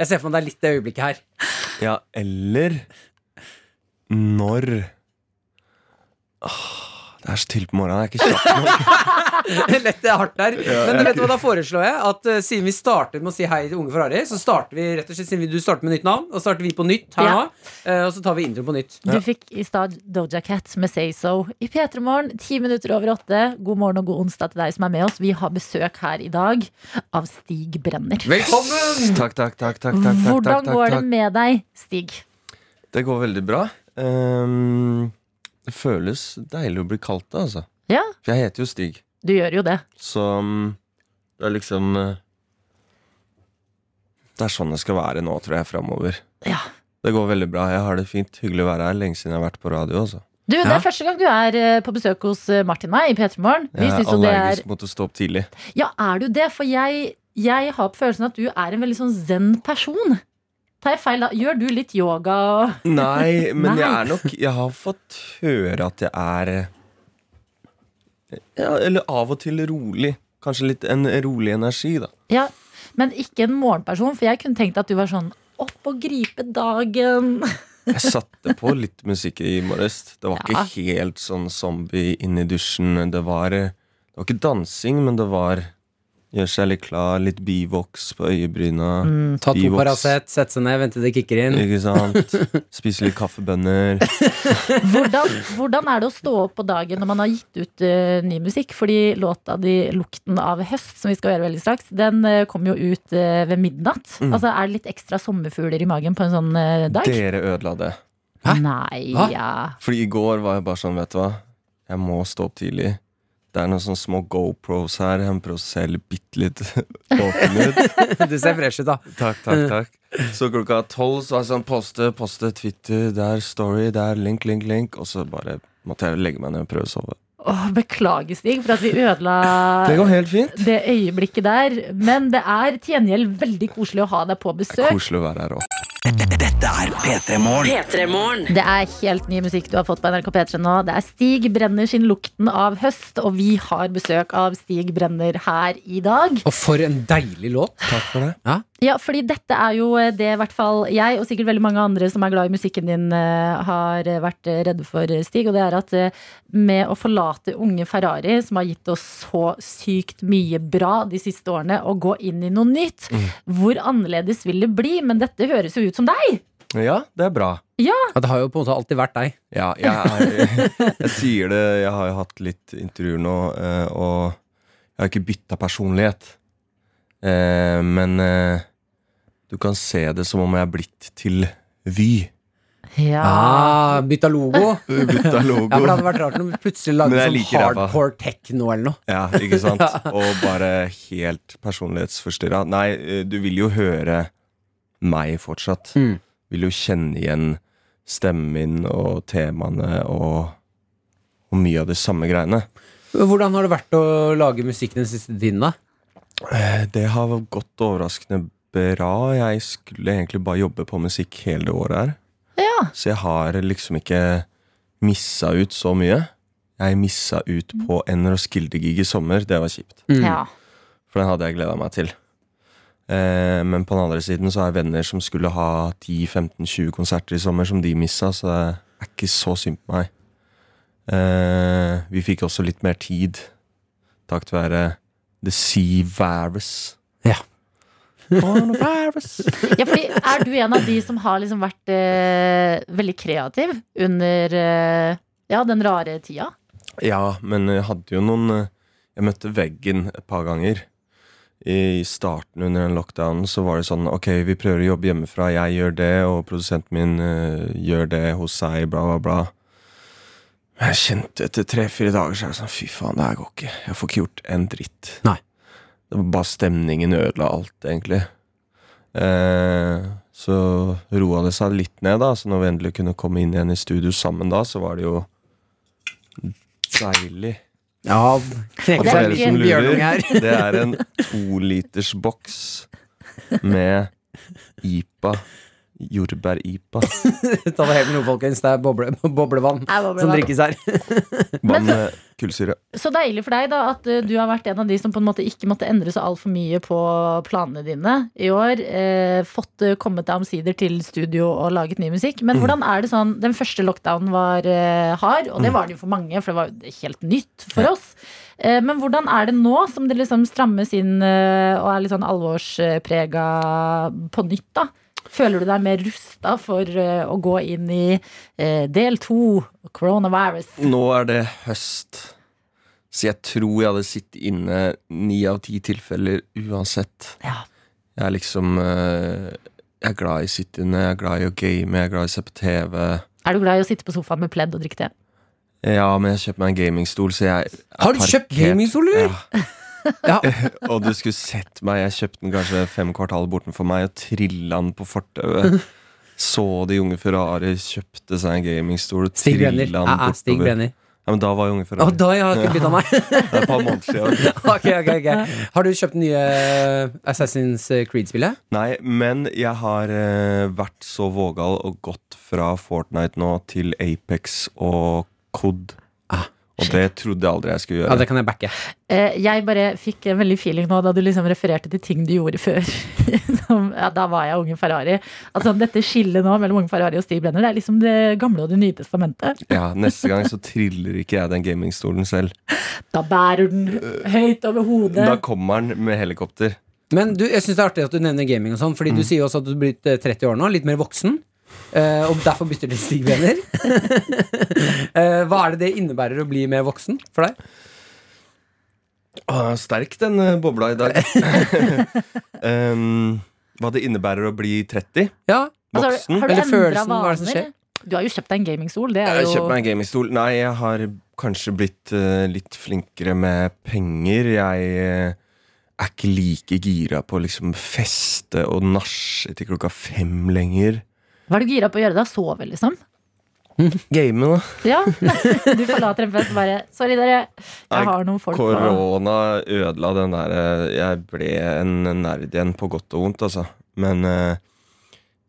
[SPEAKER 3] Jeg ser for meg det er litt det øyeblikket her
[SPEAKER 10] Ja, eller når Åh, Det er så tidlig på morgenen. Jeg er ikke kjapp nok.
[SPEAKER 3] Lett det er hardt der Men vet du hva, da foreslår jeg at eh, siden vi starter med å si hei til unge Ferrari Så starter vi rett og slett, siden vi, du starter med nytt navn Og starter vi på nytt her
[SPEAKER 2] Ja.
[SPEAKER 3] nå eh, Og så tar vi intro på nytt
[SPEAKER 2] Du fikk i stad Doja Cat med Say So. I P3 Morgen, ti minutter over åtte. God morgen og god onsdag til deg som er med oss. Vi har besøk her i dag av Stig Brenner.
[SPEAKER 3] Velkommen!
[SPEAKER 10] Takk, takk, takk. takk, takk, takk, takk,
[SPEAKER 2] Hvordan
[SPEAKER 10] takk,
[SPEAKER 2] går det
[SPEAKER 10] takk.
[SPEAKER 2] med deg, Stig?
[SPEAKER 10] Det går veldig bra. Ehm, det føles deilig å bli kalt det, altså.
[SPEAKER 2] Ja,
[SPEAKER 10] For jeg heter jo Stig,
[SPEAKER 2] du gjør jo det.
[SPEAKER 10] så mm, det er liksom eh, Det er sånn det skal være nå, tror jeg, framover.
[SPEAKER 2] Ja.
[SPEAKER 10] Det går veldig bra. Jeg har det fint. Hyggelig å være her. Lenge siden jeg har vært på radio, altså.
[SPEAKER 2] Du, Det
[SPEAKER 3] Ja.
[SPEAKER 2] er første gang du er eh, på besøk hos eh, Martin og meg i P3 Morgen. Vi
[SPEAKER 10] Jeg
[SPEAKER 2] synes
[SPEAKER 10] er
[SPEAKER 2] jo det er
[SPEAKER 10] allergisk mot å stå opp tidlig.
[SPEAKER 2] Ja, er du det? For jeg, jeg har på følelsen at du er en veldig sånn zen person. Tar jeg feil da? Gjør du litt yoga og
[SPEAKER 10] Nei, men jeg
[SPEAKER 2] Nei.
[SPEAKER 10] er nok Jeg har fått høre at jeg er ja, Eller av og til rolig. Kanskje litt en rolig energi, da.
[SPEAKER 2] Ja, men ikke en morgenperson, for jeg kunne tenkt at du var sånn opp og gripe dagen.
[SPEAKER 10] Jeg satte på litt musikk i morges. Det var
[SPEAKER 2] Ja.
[SPEAKER 10] ikke helt sånn zombie inn i dusjen. Det var, eh, det var ikke dansing, men det var gjøre seg litt klar, litt bivoks på øyebryna.
[SPEAKER 3] Ta to
[SPEAKER 10] bivoks,
[SPEAKER 3] parasett, sette seg ned, vente det kikker inn
[SPEAKER 10] Ikke sant? Spise litt kaffebønner.
[SPEAKER 2] Hvordan, hvordan er det å stå opp på dagen når man har gitt ut eh, ny musikk? Fordi låta di 'Lukten av høst', som vi skal gjøre veldig straks, den eh, kom jo ut eh, ved midnatt. Altså, er det litt ekstra sommerfugler i magen på en sånn eh, dag?
[SPEAKER 10] Dere ødela Mm. det.
[SPEAKER 2] Nei,
[SPEAKER 3] Hva?
[SPEAKER 2] ja.
[SPEAKER 10] Fordi i går var jeg bare sånn, vet du hva Jeg må stå opp tidlig Det er noen sånne små GoPros her Jeg må prøve å se litt- bitte litt åpen ut
[SPEAKER 3] Du ser fresh ut da
[SPEAKER 10] Takk, takk, takk Så klokka tolv så var jeg sånn Poste, poste, Twitter, der, story, der, link, link, link Og så bare måtte jeg legge meg ned og prøve å sove
[SPEAKER 2] Åh, beklager, Stig, for at vi ødela
[SPEAKER 10] Det går helt fint
[SPEAKER 2] det øyeblikket der. Men det er til gjengjeld veldig koselig å ha deg på besøk.
[SPEAKER 10] Koselig å være her også
[SPEAKER 5] P3-morgen.
[SPEAKER 2] Det er helt ny musikk du har fått på NRK P3 nå. Det er Stig Brenner sin 'Lukten av høst', og vi har besøk av Stig Brenner her i dag.
[SPEAKER 3] Og for en deilig låt
[SPEAKER 10] Takk for det
[SPEAKER 2] Ja, fordi dette er jo eh, det i hvert fall jeg, og sikkert veldig mange andre som er glad i musikken din, eh, har vært redde for, Stig. Og det er at eh, med å forlate unge Ferrari, som har gitt oss så sykt mye bra de siste årene, og gå inn i noe nytt, hvor annerledes vil det bli? Men dette høres jo ut som deg!
[SPEAKER 10] Ja, det er bra
[SPEAKER 3] ja, Det har jo på en måte alltid vært deg
[SPEAKER 10] Ja, jeg, er, jeg sier det. Jeg har jo hatt litt intervjuer nå, eh, og jeg har ikke bytta personlighet. Eh, Men eh, du kan se det som om jeg er blitt til Vy.
[SPEAKER 3] ah, Bytta logo
[SPEAKER 10] Bytta
[SPEAKER 3] Ja, for det
[SPEAKER 10] logo.
[SPEAKER 3] hadde vært rart om du plutselig
[SPEAKER 10] Men
[SPEAKER 3] lagde
[SPEAKER 10] jeg
[SPEAKER 3] sånn
[SPEAKER 10] liker det, hva?
[SPEAKER 3] hardcore techno eller noe.
[SPEAKER 10] Ja, ikke sant? Og bare helt personlighetsforstyrra. Nei, eh, du vil jo høre meg fortsatt.
[SPEAKER 3] Mm.
[SPEAKER 10] Vil jo kjenne igjen stemmen min og temaene og, og mye av de samme greiene.
[SPEAKER 3] Hvordan har det vært å lage musikk den siste tiden, da?
[SPEAKER 10] Eh, Det har gått overraskende bra. Jeg skulle egentlig bare jobbe på musikk hele det året her.
[SPEAKER 2] Ja.
[SPEAKER 10] Så jeg har liksom ikke missa ut så mye. Jeg missa ut på en Roskilde-gig i sommer. Det var kjipt.
[SPEAKER 2] Mm. ja.
[SPEAKER 10] For den hadde jeg gleda meg til. Eh, men på den andre siden så har jeg venner som skulle ha 10-15-20 konserter i sommer, som de missa, så det er ikke så synd på meg. Eh, vi fikk også litt mer tid. opptakt være The Sea Virus.
[SPEAKER 3] Ja.
[SPEAKER 2] Ja, fordi Er du en av de som har liksom vært eh, veldig kreativ under eh, ja, den rare tida?
[SPEAKER 10] Ja, men jeg hadde jo noen eh, Jeg møtte veggen et par ganger. I starten under den lockdownen så var det sånn Ok, vi prøver å jobbe hjemmefra. Jeg gjør det, og produsenten min eh, gjør det hos seg, bla, bla, bla. Men jeg kjente etter tre-fire dager så er det sånn Fy faen, det her går ikke. Jeg får ikke gjort en dritt.
[SPEAKER 3] Nei.
[SPEAKER 10] Det var bare stemningen ødela alt, egentlig. Eh, så roa det seg litt ned, da. Så når vi endelig kunne komme inn igjen i studio sammen da, så var det jo deilig.
[SPEAKER 3] Ja,
[SPEAKER 2] Og det er
[SPEAKER 10] dere
[SPEAKER 2] ikke-
[SPEAKER 10] som
[SPEAKER 3] Bjørnung
[SPEAKER 10] lurer,
[SPEAKER 3] her.
[SPEAKER 10] det er en tolitersboks med IPA. Jordbær-IPA.
[SPEAKER 3] Ta det helt med ro, folkens. Det er boble, boblevann
[SPEAKER 2] Er boblevann.
[SPEAKER 3] som drikkes her.
[SPEAKER 10] Vann med kullsyre.
[SPEAKER 2] Så deilig for deg da at eh, du har vært en av de som på en måte ikke måtte endre så altfor mye på planene dine i år. Eh, fått eh, kommet deg omsider til studio og laget ny musikk. Men hvordan er det sånn Den første lockdownen var eh, hard, og det var det jo for mange, for det var jo helt nytt for oss. Eh, men hvordan er det nå som det liksom strammes inn eh, og er litt sånn alvorsprega på nytt, da? Føler du deg mer rusta for eh, å gå inn i eh, del to, coronavirus?
[SPEAKER 10] Nå er det høst, så jeg tror jeg hadde sittet inne ni av ti tilfeller uansett.
[SPEAKER 2] Ja.
[SPEAKER 10] Jeg er liksom eh, Jeg er glad i å sitte inne, jeg er glad i å game, jeg er glad i å se på TV.
[SPEAKER 2] Er du glad i å sitte på sofaen med pledd og drikke te?
[SPEAKER 10] Ja, men jeg kjøpte meg en gamingstol, så jeg er
[SPEAKER 3] Har du kjøpt
[SPEAKER 10] parkert-
[SPEAKER 3] gamingstol, eller? Ja.
[SPEAKER 10] Og du skulle sett meg. Jeg kjøpte den kanskje fem kvartal bortenfor meg og trilla den på fortauet. Så de unge Ferrari kjøpte seg en gamingstol og
[SPEAKER 3] Stig
[SPEAKER 10] trilla
[SPEAKER 3] Brenner.
[SPEAKER 10] den
[SPEAKER 3] Ja, ja, Stig
[SPEAKER 10] bortover.
[SPEAKER 3] Brenner.
[SPEAKER 10] Ja, men da var jeg
[SPEAKER 3] Å,
[SPEAKER 10] unge Ferrari.
[SPEAKER 3] da har jeg ikke bytta meg.
[SPEAKER 10] Det er et par måneder siden.
[SPEAKER 3] Ok, ok, ok Har du kjøpt nye eh, Assassin's Creed-spillet?
[SPEAKER 10] Nei, men jeg har eh, vært så vågal og gått fra Fortnite nå til Apex og COD.
[SPEAKER 3] Ah,
[SPEAKER 10] og det trodde jeg aldri jeg skulle
[SPEAKER 3] Ja,
[SPEAKER 10] gjøre.
[SPEAKER 3] det kan jeg backe.
[SPEAKER 2] Eh, Jeg bare fikk en veldig feeling nå da du liksom refererte til ting du gjorde før. Som, ja, da var jeg unge Ferrari. Altså, dette skillet nå mellom unge Ferrari og Stig Brenner, det er liksom det gamle og det nye testamentet.
[SPEAKER 10] Ja, Neste gang så triller ikke jeg den gamingstolen selv.
[SPEAKER 2] Da bærer den høyt over hodet.
[SPEAKER 10] Da kommer den med helikopter.
[SPEAKER 3] Men du, jeg syns det er artig at du nevner gaming og sånn, Fordi
[SPEAKER 10] Mm.
[SPEAKER 3] du sier jo også at du er blitt eh, 30 år nå, litt mer voksen. eh, og derfor bytter til Stig Brenner. Eh, hva er det det innebærer å bli mer voksen for deg?
[SPEAKER 10] Å, sterk den eh, bobla i dag. Em, hva det innebærer å bli 30.
[SPEAKER 3] Ja,
[SPEAKER 2] Altså, har du-
[SPEAKER 10] Voksen.
[SPEAKER 2] har du
[SPEAKER 3] eller
[SPEAKER 2] endret
[SPEAKER 3] følelsen, hva er det som
[SPEAKER 2] vaner? Du har jo kjøpt deg en gamingstol. Det
[SPEAKER 10] Jeg
[SPEAKER 2] er
[SPEAKER 10] har
[SPEAKER 2] jo
[SPEAKER 10] kjøpt meg en gamingstol. Nei, jeg har kanskje blitt eh, litt flinkere med penger. Jeg eh, er ikke like gira på å liksom feste og nasje til klokka fem lenger.
[SPEAKER 2] Hva er du gira på å gjøre da? Sove, liksom?
[SPEAKER 10] Game, da.
[SPEAKER 2] Ja. Du forlater en fest og bare Sorry, dere.
[SPEAKER 10] Nei,
[SPEAKER 2] Jeg har noen folk på
[SPEAKER 10] Korona ødela den der eh, Jeg ble en nerd igjen på godt og vondt, altså. Men eh,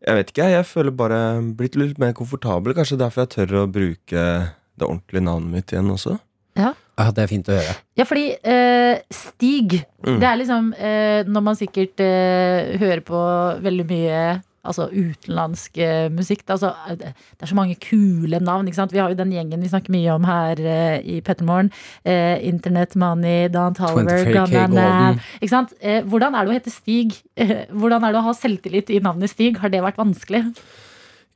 [SPEAKER 10] jeg vet ikke, jeg føler bare blitt litt mer komfortabel. Kanskje derfor jeg tør å bruke det ordentlige navnet mitt igjen også.
[SPEAKER 3] Ja, Det er fint å høre.
[SPEAKER 2] Ja, fordi eh, Stig,
[SPEAKER 10] Mm.
[SPEAKER 2] det er liksom eh, Når man sikkert eh, hører på veldig mye Altså utenlandsk eh, musikk. da, Altså, eh, det er så mange kule navn. ikke sant? Vi har jo den gjengen vi snakker mye om her eh, i Pettermorgen. Uh, Internet Money, Dan Tolliver,
[SPEAKER 3] 24K
[SPEAKER 2] Gunnar Man.
[SPEAKER 3] Golden.
[SPEAKER 2] Ikke sant? Eh, hvordan er det å hete Stig? Eh, hvordan er det å ha selvtillit i navnet Stig? Har det vært vanskelig?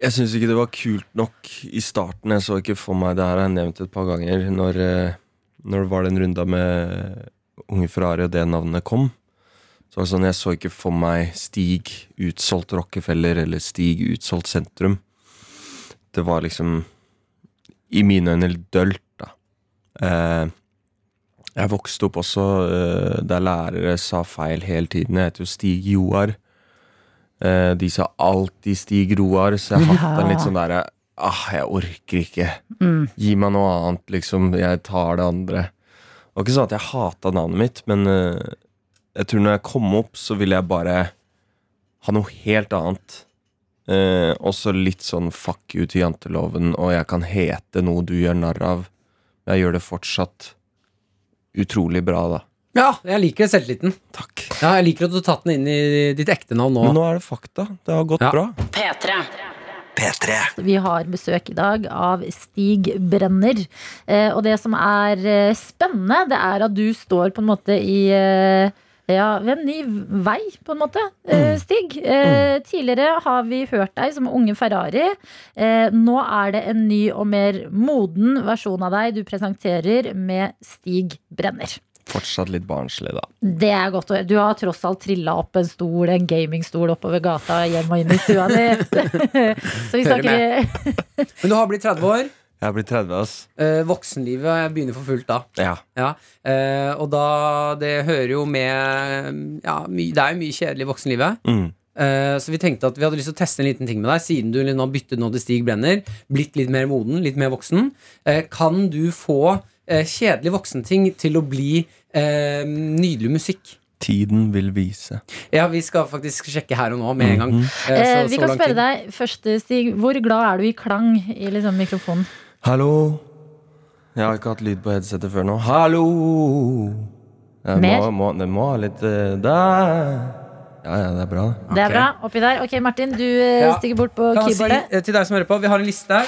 [SPEAKER 10] Jeg syns ikke det var kult nok i starten. Jeg så ikke for meg det her har jeg nevnt et par ganger. Når, eh, når det var den runda med Unge Ferrari og det navnet kom. Så var det sånn, Jeg så ikke for meg Stig utsolgt Rockefeller eller Stig utsolgt sentrum. Det var liksom i mine øyne litt dølt, da. Eh, jeg vokste opp også eh, der lærere sa feil hele tiden. Jeg heter jo Stig Joar. Eh, de sa alltid Stig Roar, så jeg har hatt en litt sånn derre Ah, jeg orker ikke. Gi meg noe annet, liksom. Jeg tar det andre. Det var ikke sånn at jeg hata navnet mitt, men eh, jeg tror når jeg kom opp, så ville jeg bare ha noe helt annet. Eh, også litt sånn fuck you til janteloven, og jeg kan hete noe du gjør narr av. Jeg gjør det fortsatt utrolig bra, da.
[SPEAKER 3] Ja, jeg liker selvtilliten.
[SPEAKER 10] Takk.
[SPEAKER 3] Ja, jeg liker at du har tatt den inn i ditt ekte navn nå.
[SPEAKER 10] Men nå er det fakta. Det har gått
[SPEAKER 3] Ja.
[SPEAKER 10] bra.
[SPEAKER 5] P3. P3.
[SPEAKER 2] Vi har besøk i dag av Stig Brenner. Eh, og det som er eh, spennende, det er at du står på en måte i eh, ja, ved en ny vei, på en måte, eh, Stig. Eh, tidligere har vi hørt deg som unge Ferrari. Eh, nå er det en ny og mer moden versjon av deg du presenterer med Stig Brenner.
[SPEAKER 10] Fortsatt litt barnslig, da.
[SPEAKER 2] Det er godt å høre. Du har tross alt trilla opp en stol, en gamingstol oppover gata, hjem og inn i stua di. Så vi
[SPEAKER 3] Hører
[SPEAKER 2] snakker
[SPEAKER 3] Men du har blitt 30 år.
[SPEAKER 10] Jeg blir 30, ass.
[SPEAKER 3] Eh, voksenlivet begynner for fullt da.
[SPEAKER 10] Ja.
[SPEAKER 3] Ja. Eh, og da Det hører jo med ja, my, Det er jo mye kjedelig i voksenlivet.
[SPEAKER 10] Mm.
[SPEAKER 3] Eh, så vi tenkte at vi hadde lyst til å teste en liten ting med deg, siden du nå har byttet nå til Stig Brenner. Blitt litt mer moden, litt mer voksen. Eh, kan du få eh, kjedelig voksenting til å bli eh, nydelig musikk?
[SPEAKER 10] Tiden vil vise.
[SPEAKER 3] Ja, vi skal faktisk sjekke her og nå med en gang.
[SPEAKER 10] Mm-hmm.
[SPEAKER 2] Eh, vi kan spørre deg først, Stig. Hvor glad er du i klang i liksom, mikrofonen?
[SPEAKER 10] Hallo. Jeg har ikke hatt lyd på headsetet før nå. Hallo! Jeg
[SPEAKER 2] Mer?
[SPEAKER 10] Må, må, det må ha litt eh, der. Ja, ja, det er bra, det.
[SPEAKER 2] Det er bra. Oppi der. Ok, Martin, du eh,
[SPEAKER 3] Ja.
[SPEAKER 2] stiger bort på
[SPEAKER 3] Kan jeg si
[SPEAKER 2] keyboardet.
[SPEAKER 3] eh, til deg som hører på, vi har en liste her.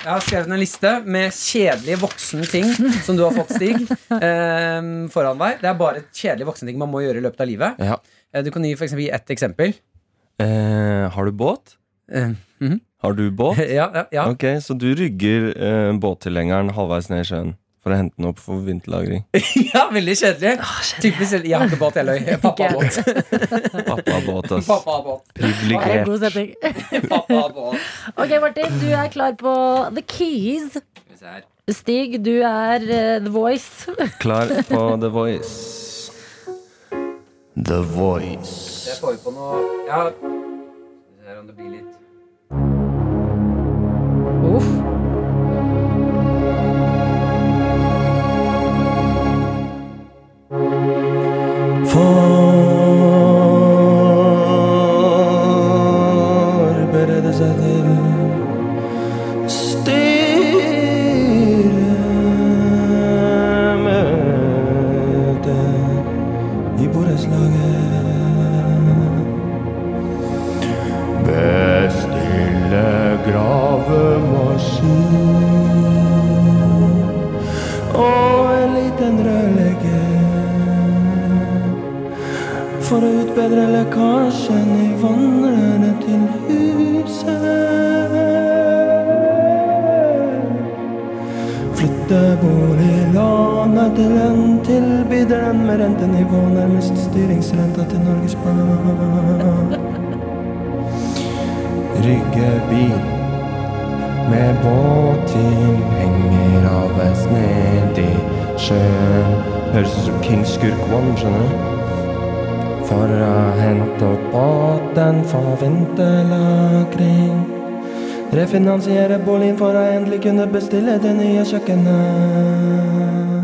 [SPEAKER 3] Jeg har skrevet en liste med kjedelige voksne ting som du har fått, Stig, eh, foran deg. Det er bare kjedelige voksne ting man må gjøre i løpet av livet.
[SPEAKER 10] Ja.
[SPEAKER 3] Eh, Du kan gi, for eksempel, gi ett eksempel.
[SPEAKER 10] Eh, har du båt?
[SPEAKER 3] Eh,
[SPEAKER 10] Har du båt?
[SPEAKER 3] Ja, ja, ja.
[SPEAKER 10] Ok, så du rygger eh, båttilhengeren halvveis ned i sjøen for å hente den opp for vinterlagring.
[SPEAKER 3] ja veldig kjedelig. Typisk kjedelig. Jeg har ikke båt, jeg løy. Pappa har båt.
[SPEAKER 10] Pappa har båt, ass.
[SPEAKER 3] Pappa har båt.
[SPEAKER 2] Det er en
[SPEAKER 10] Privilegert.
[SPEAKER 2] god setting.
[SPEAKER 3] Pappa har båt.
[SPEAKER 2] Ok, Martin, du er klar på The Keys.
[SPEAKER 3] Skal vi se her.
[SPEAKER 2] Stig, du er eh, The Voice.
[SPEAKER 10] Klar på The Voice. The Voice.
[SPEAKER 3] Jeg får jo på noe Ja. Skal vi se her om det blir litt
[SPEAKER 2] Uff.
[SPEAKER 10] Forberede seg til styremøte i borettslaget. Bestille gravemaskin og en liten rørlegger for å utbedre lekkasjen i vannrøret til huset. Flytte boliglanet til en tilbyder den med rentenivå nærmest styringsrenta til Norges Bank. Rygge bil med båttilhenger halvveis ned i sjøen. Høres ut som King Skurk One, skjønner du. For å hente opp båten for vinterlagring. Refinansiere boligen for å endelig kunne bestille det nye kjøkkenet.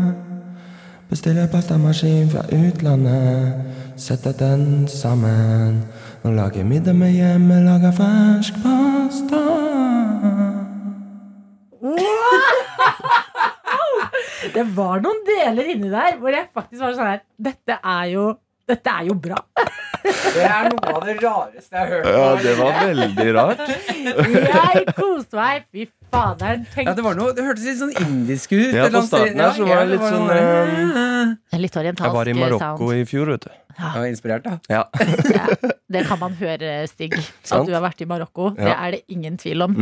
[SPEAKER 10] Bestille pastamaskin fra utlandet. Sette den sammen. Og lage middag med hjemmelaga fersk pasta.
[SPEAKER 2] Det var noen deler inni der hvor jeg faktisk var sånn her Dette er jo, dette er jo bra.
[SPEAKER 3] Det er noe av det rareste jeg har hørt.
[SPEAKER 10] var veldig rart.
[SPEAKER 2] Jeg koste meg. Fy faderen. Tenk.
[SPEAKER 3] Ja, det, var noe, det hørtes litt sånn indisk ut.
[SPEAKER 10] Ja,
[SPEAKER 3] et eller
[SPEAKER 10] på
[SPEAKER 3] annet sted.
[SPEAKER 10] starten her så
[SPEAKER 3] Ja, ja,
[SPEAKER 10] var det litt sånn
[SPEAKER 3] noe-
[SPEAKER 10] eh,
[SPEAKER 2] Litt orientalsk
[SPEAKER 10] Jeg var i Marokko
[SPEAKER 2] sound.
[SPEAKER 10] i fjor, vet du.
[SPEAKER 3] Jeg var inspirert, da.
[SPEAKER 10] eh, Ja.
[SPEAKER 2] Ja, det kan man høre, Stig. At
[SPEAKER 10] Sant.
[SPEAKER 2] du har vært i Marokko. Det
[SPEAKER 10] Ja. Mhm.
[SPEAKER 2] er det ingen tvil om.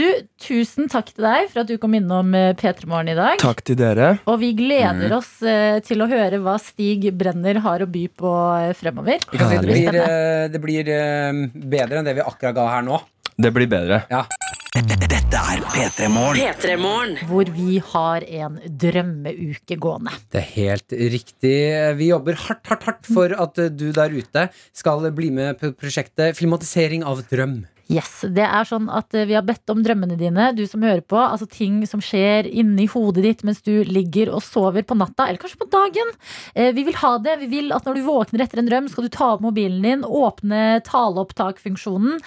[SPEAKER 2] Du, tusen takk til deg for at du kom innom eh, P3 Morgen i dag.
[SPEAKER 10] Takk Mhm. til dere.
[SPEAKER 2] Og vi gleder oss eh, til å høre hva Stig Brenner har å by på eh, fremover.
[SPEAKER 3] Vi kan si at det
[SPEAKER 2] Herlig.
[SPEAKER 3] blir, eh, det blir eh, bedre enn det vi akkurat ga her nå.
[SPEAKER 10] Det blir bedre.
[SPEAKER 3] Ja.
[SPEAKER 5] P3 Morgen.
[SPEAKER 2] Hvor vi har en drømmeuke gående.
[SPEAKER 3] Det er helt riktig. Vi jobber hardt, hardt, hardt for at eh, du der ute skal bli med på prosjektet Filmatisering av drøm.
[SPEAKER 2] Yes, det er sånn at eh, Vi har bedt om drømmene dine, du som hører på. Altså Ting som skjer inni hodet ditt mens du ligger og sover på natta, eller kanskje på dagen. Eh, Vi vil ha det. Vi vil at når du våkner etter en drøm, skal du ta opp mobilen din, åpne taleopptakfunksjonen.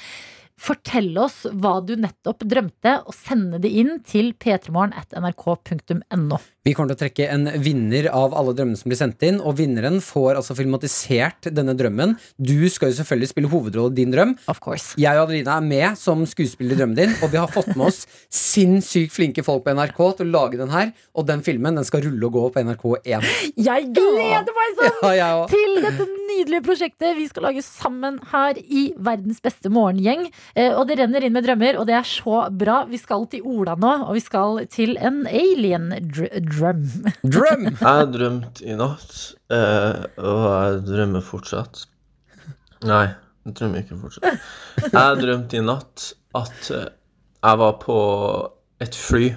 [SPEAKER 2] Fortell oss hva du nettopp drømte, og sende det inn til p3morgen at nrk.no.
[SPEAKER 3] Vi kommer til å trekke en vinner av alle drømmene som blir sendt inn. Og vinneren får altså filmatisert denne drømmen. Du skal jo selvfølgelig spille hovedrollen i din drøm.
[SPEAKER 2] Of course.
[SPEAKER 3] Jeg og Adelina er med som skuespiller i drømmen din, og vi har fått med oss sinnssykt flinke folk på NRK til å lage den her. Og den filmen den skal rulle og gå på NRK1.
[SPEAKER 2] Jeg gleder meg sånn!
[SPEAKER 3] Ja, jeg òg.
[SPEAKER 2] til dette nydelige prosjektet vi skal lage sammen her i Verdens beste morgengjeng. Eh, Og det renner inn med drømmer, og det er så bra. Vi skal til Ola nå, og vi skal til en alien dr drøm.
[SPEAKER 3] Drøm!
[SPEAKER 11] Jeg har drømt i natt, eh, og jeg drømmer fortsatt. Nei, jeg drømmer ikke fortsatt. Jeg har drømt i natt at eh, jeg var på et fly.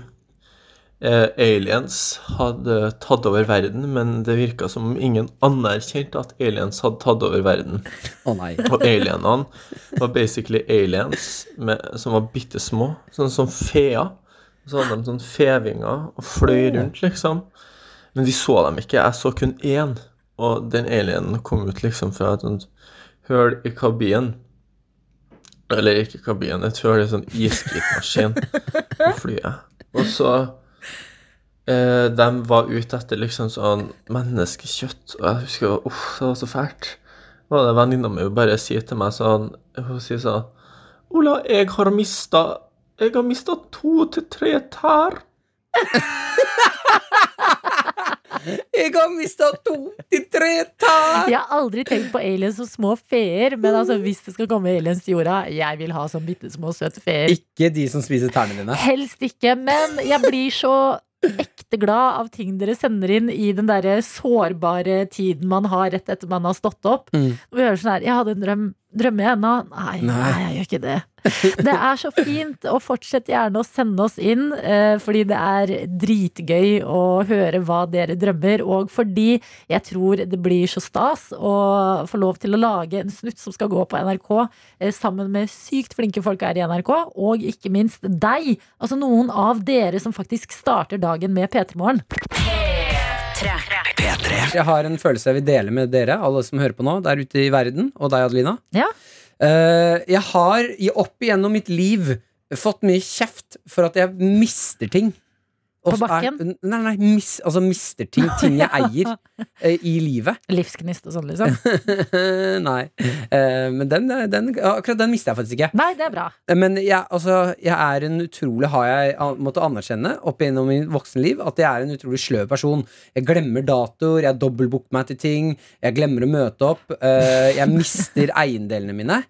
[SPEAKER 11] Eh, aliens hadde tatt over verden, men det virka som om ingen anerkjente at aliens hadde tatt over verden.
[SPEAKER 3] Å nei.
[SPEAKER 11] Og alienene var basically aliens med, som var bitte små, sånn som feer. Og Så hadde de sånn fevinger og fløy rundt, liksom. Men vi så dem ikke, jeg så kun én. Og den alienen kom ut liksom fra et sånt høl i kabinen. Eller ikke kabinen, et høl i en sånn isskipmaskin på flyet. Og så eh, De var ute etter liksom sånn menneskekjøtt, og jeg husker uff, det var så fælt. Og det venninna mi bare sier til meg sånn Hun sier sånn Ola, jeg har mista Jeg har mista to til tre tær.
[SPEAKER 3] Jeg har mista to til tre tær!
[SPEAKER 2] Jeg har aldri tenkt på aliens som små feer, men altså, hvis det skal komme aliens til jorda, jeg vil ha sånn bitte små søte feer.
[SPEAKER 3] Ikke de som spiser tærne dine.
[SPEAKER 2] Helst ikke, men jeg blir så ekte glad av ting dere sender inn i den derre sårbare tiden man har rett etter man har stått opp.
[SPEAKER 3] Mm.
[SPEAKER 2] Og vi hører sånn her Jeg hadde en drøm. Drømmer jeg ennå? Nei, nei.
[SPEAKER 3] Nei.
[SPEAKER 2] jeg gjør ikke det. Det er så fint, og fortsett gjerne å sende oss inn, eh, fordi det er dritgøy å høre hva dere drømmer, og fordi jeg tror det blir så stas å få lov til å lage en snutt som skal gå på NRK, eh, sammen med sykt flinke folk her i NRK, og ikke minst deg, altså noen av dere som faktisk starter dagen med P3 Morgen.
[SPEAKER 3] Jeg har en følelse jeg vil dele med dere, alle som hører på nå, der ute i verden, og deg, Adelina.
[SPEAKER 2] Ja.
[SPEAKER 3] Eh, jeg har i- opp igjennom mitt liv fått mye kjeft for at jeg mister ting.
[SPEAKER 2] På
[SPEAKER 3] Og så er-
[SPEAKER 2] bakken?
[SPEAKER 3] nei, nei, mis, altså mister ting. Ting jeg eier eh, i livet.
[SPEAKER 2] Livsgnist og sånn, liksom.
[SPEAKER 3] nei. Eh, men den, den, akkurat den mister jeg faktisk ikke.
[SPEAKER 2] Nei, det er bra.
[SPEAKER 3] Men jeg, altså, jeg er en utrolig Har jeg an- måttet anerkjenne opp gjennom min voksenliv at jeg er en utrolig sløv person. Jeg glemmer datoer, jeg dobbeltbooker meg til ting, jeg glemmer å møte opp. eh, jeg mister eiendelene mine.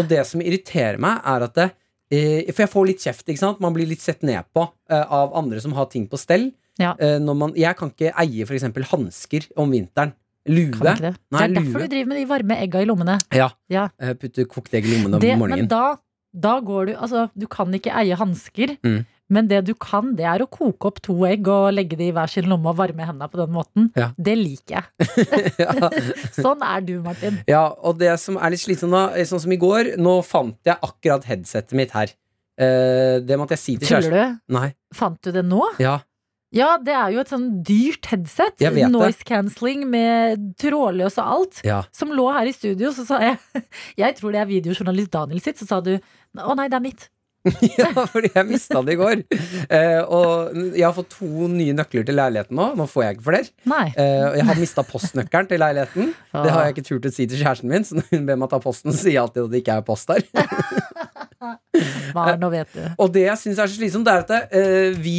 [SPEAKER 3] Og det som irriterer meg, er at det, eh, For jeg får litt kjeft, ikke sant? Man blir litt sett ned på eh, av andre som har ting på stell.
[SPEAKER 2] Ja.
[SPEAKER 3] Eh, når man, jeg kan ikke eie f.eks. hansker om vinteren. Lue.
[SPEAKER 2] Kan ikke det. Det
[SPEAKER 3] Nei,
[SPEAKER 2] er derfor
[SPEAKER 3] lue.
[SPEAKER 2] du driver med de varme egga i lommene.
[SPEAKER 3] Ja.
[SPEAKER 2] Ja.
[SPEAKER 3] Eh, Putte kokte egg i lommen om
[SPEAKER 2] det,
[SPEAKER 3] morgenen.
[SPEAKER 2] men da, da går du Altså, du kan ikke eie hansker.
[SPEAKER 3] Mm.
[SPEAKER 2] Men det du kan, det er å koke opp to egg og legge det i hver sin lomme og varme hendene på den måten.
[SPEAKER 3] Ja.
[SPEAKER 2] Det liker jeg.
[SPEAKER 3] ja.
[SPEAKER 2] Sånn er du, Martin.
[SPEAKER 3] Ja, og det som er litt slitsomt da, eh, sånn som i går, nå fant jeg akkurat headsetet mitt her. Eh, det måtte jeg si til kjæresten.
[SPEAKER 2] Tuller du?
[SPEAKER 3] Nei.
[SPEAKER 2] Fant du det nå?
[SPEAKER 3] Ja.
[SPEAKER 2] Ja, det er jo et sånn dyrt headset.
[SPEAKER 3] Jeg vet det.
[SPEAKER 2] Noise cancelling med trådløs og alt.
[SPEAKER 3] Ja.
[SPEAKER 2] Som lå her i studio, så sa jeg Jeg tror det er videojournalist Daniel sitt, så sa du Å nei, det er mitt.
[SPEAKER 3] ja, fordi jeg mista det i går. Eh, og jeg har fått to nye nøkler til leiligheten nå. Nå får jeg ikke flere.
[SPEAKER 2] Nei.
[SPEAKER 3] Eh, og jeg har mista postnøkkelen til leiligheten. Det har jeg ikke turt å si til kjæresten min, så når hun ber meg ta posten, sier jeg alltid at det ikke er post der. Eh,
[SPEAKER 2] Hva, nå vet du.
[SPEAKER 3] Og det jeg syns er så slitsomt, det er at eh, vi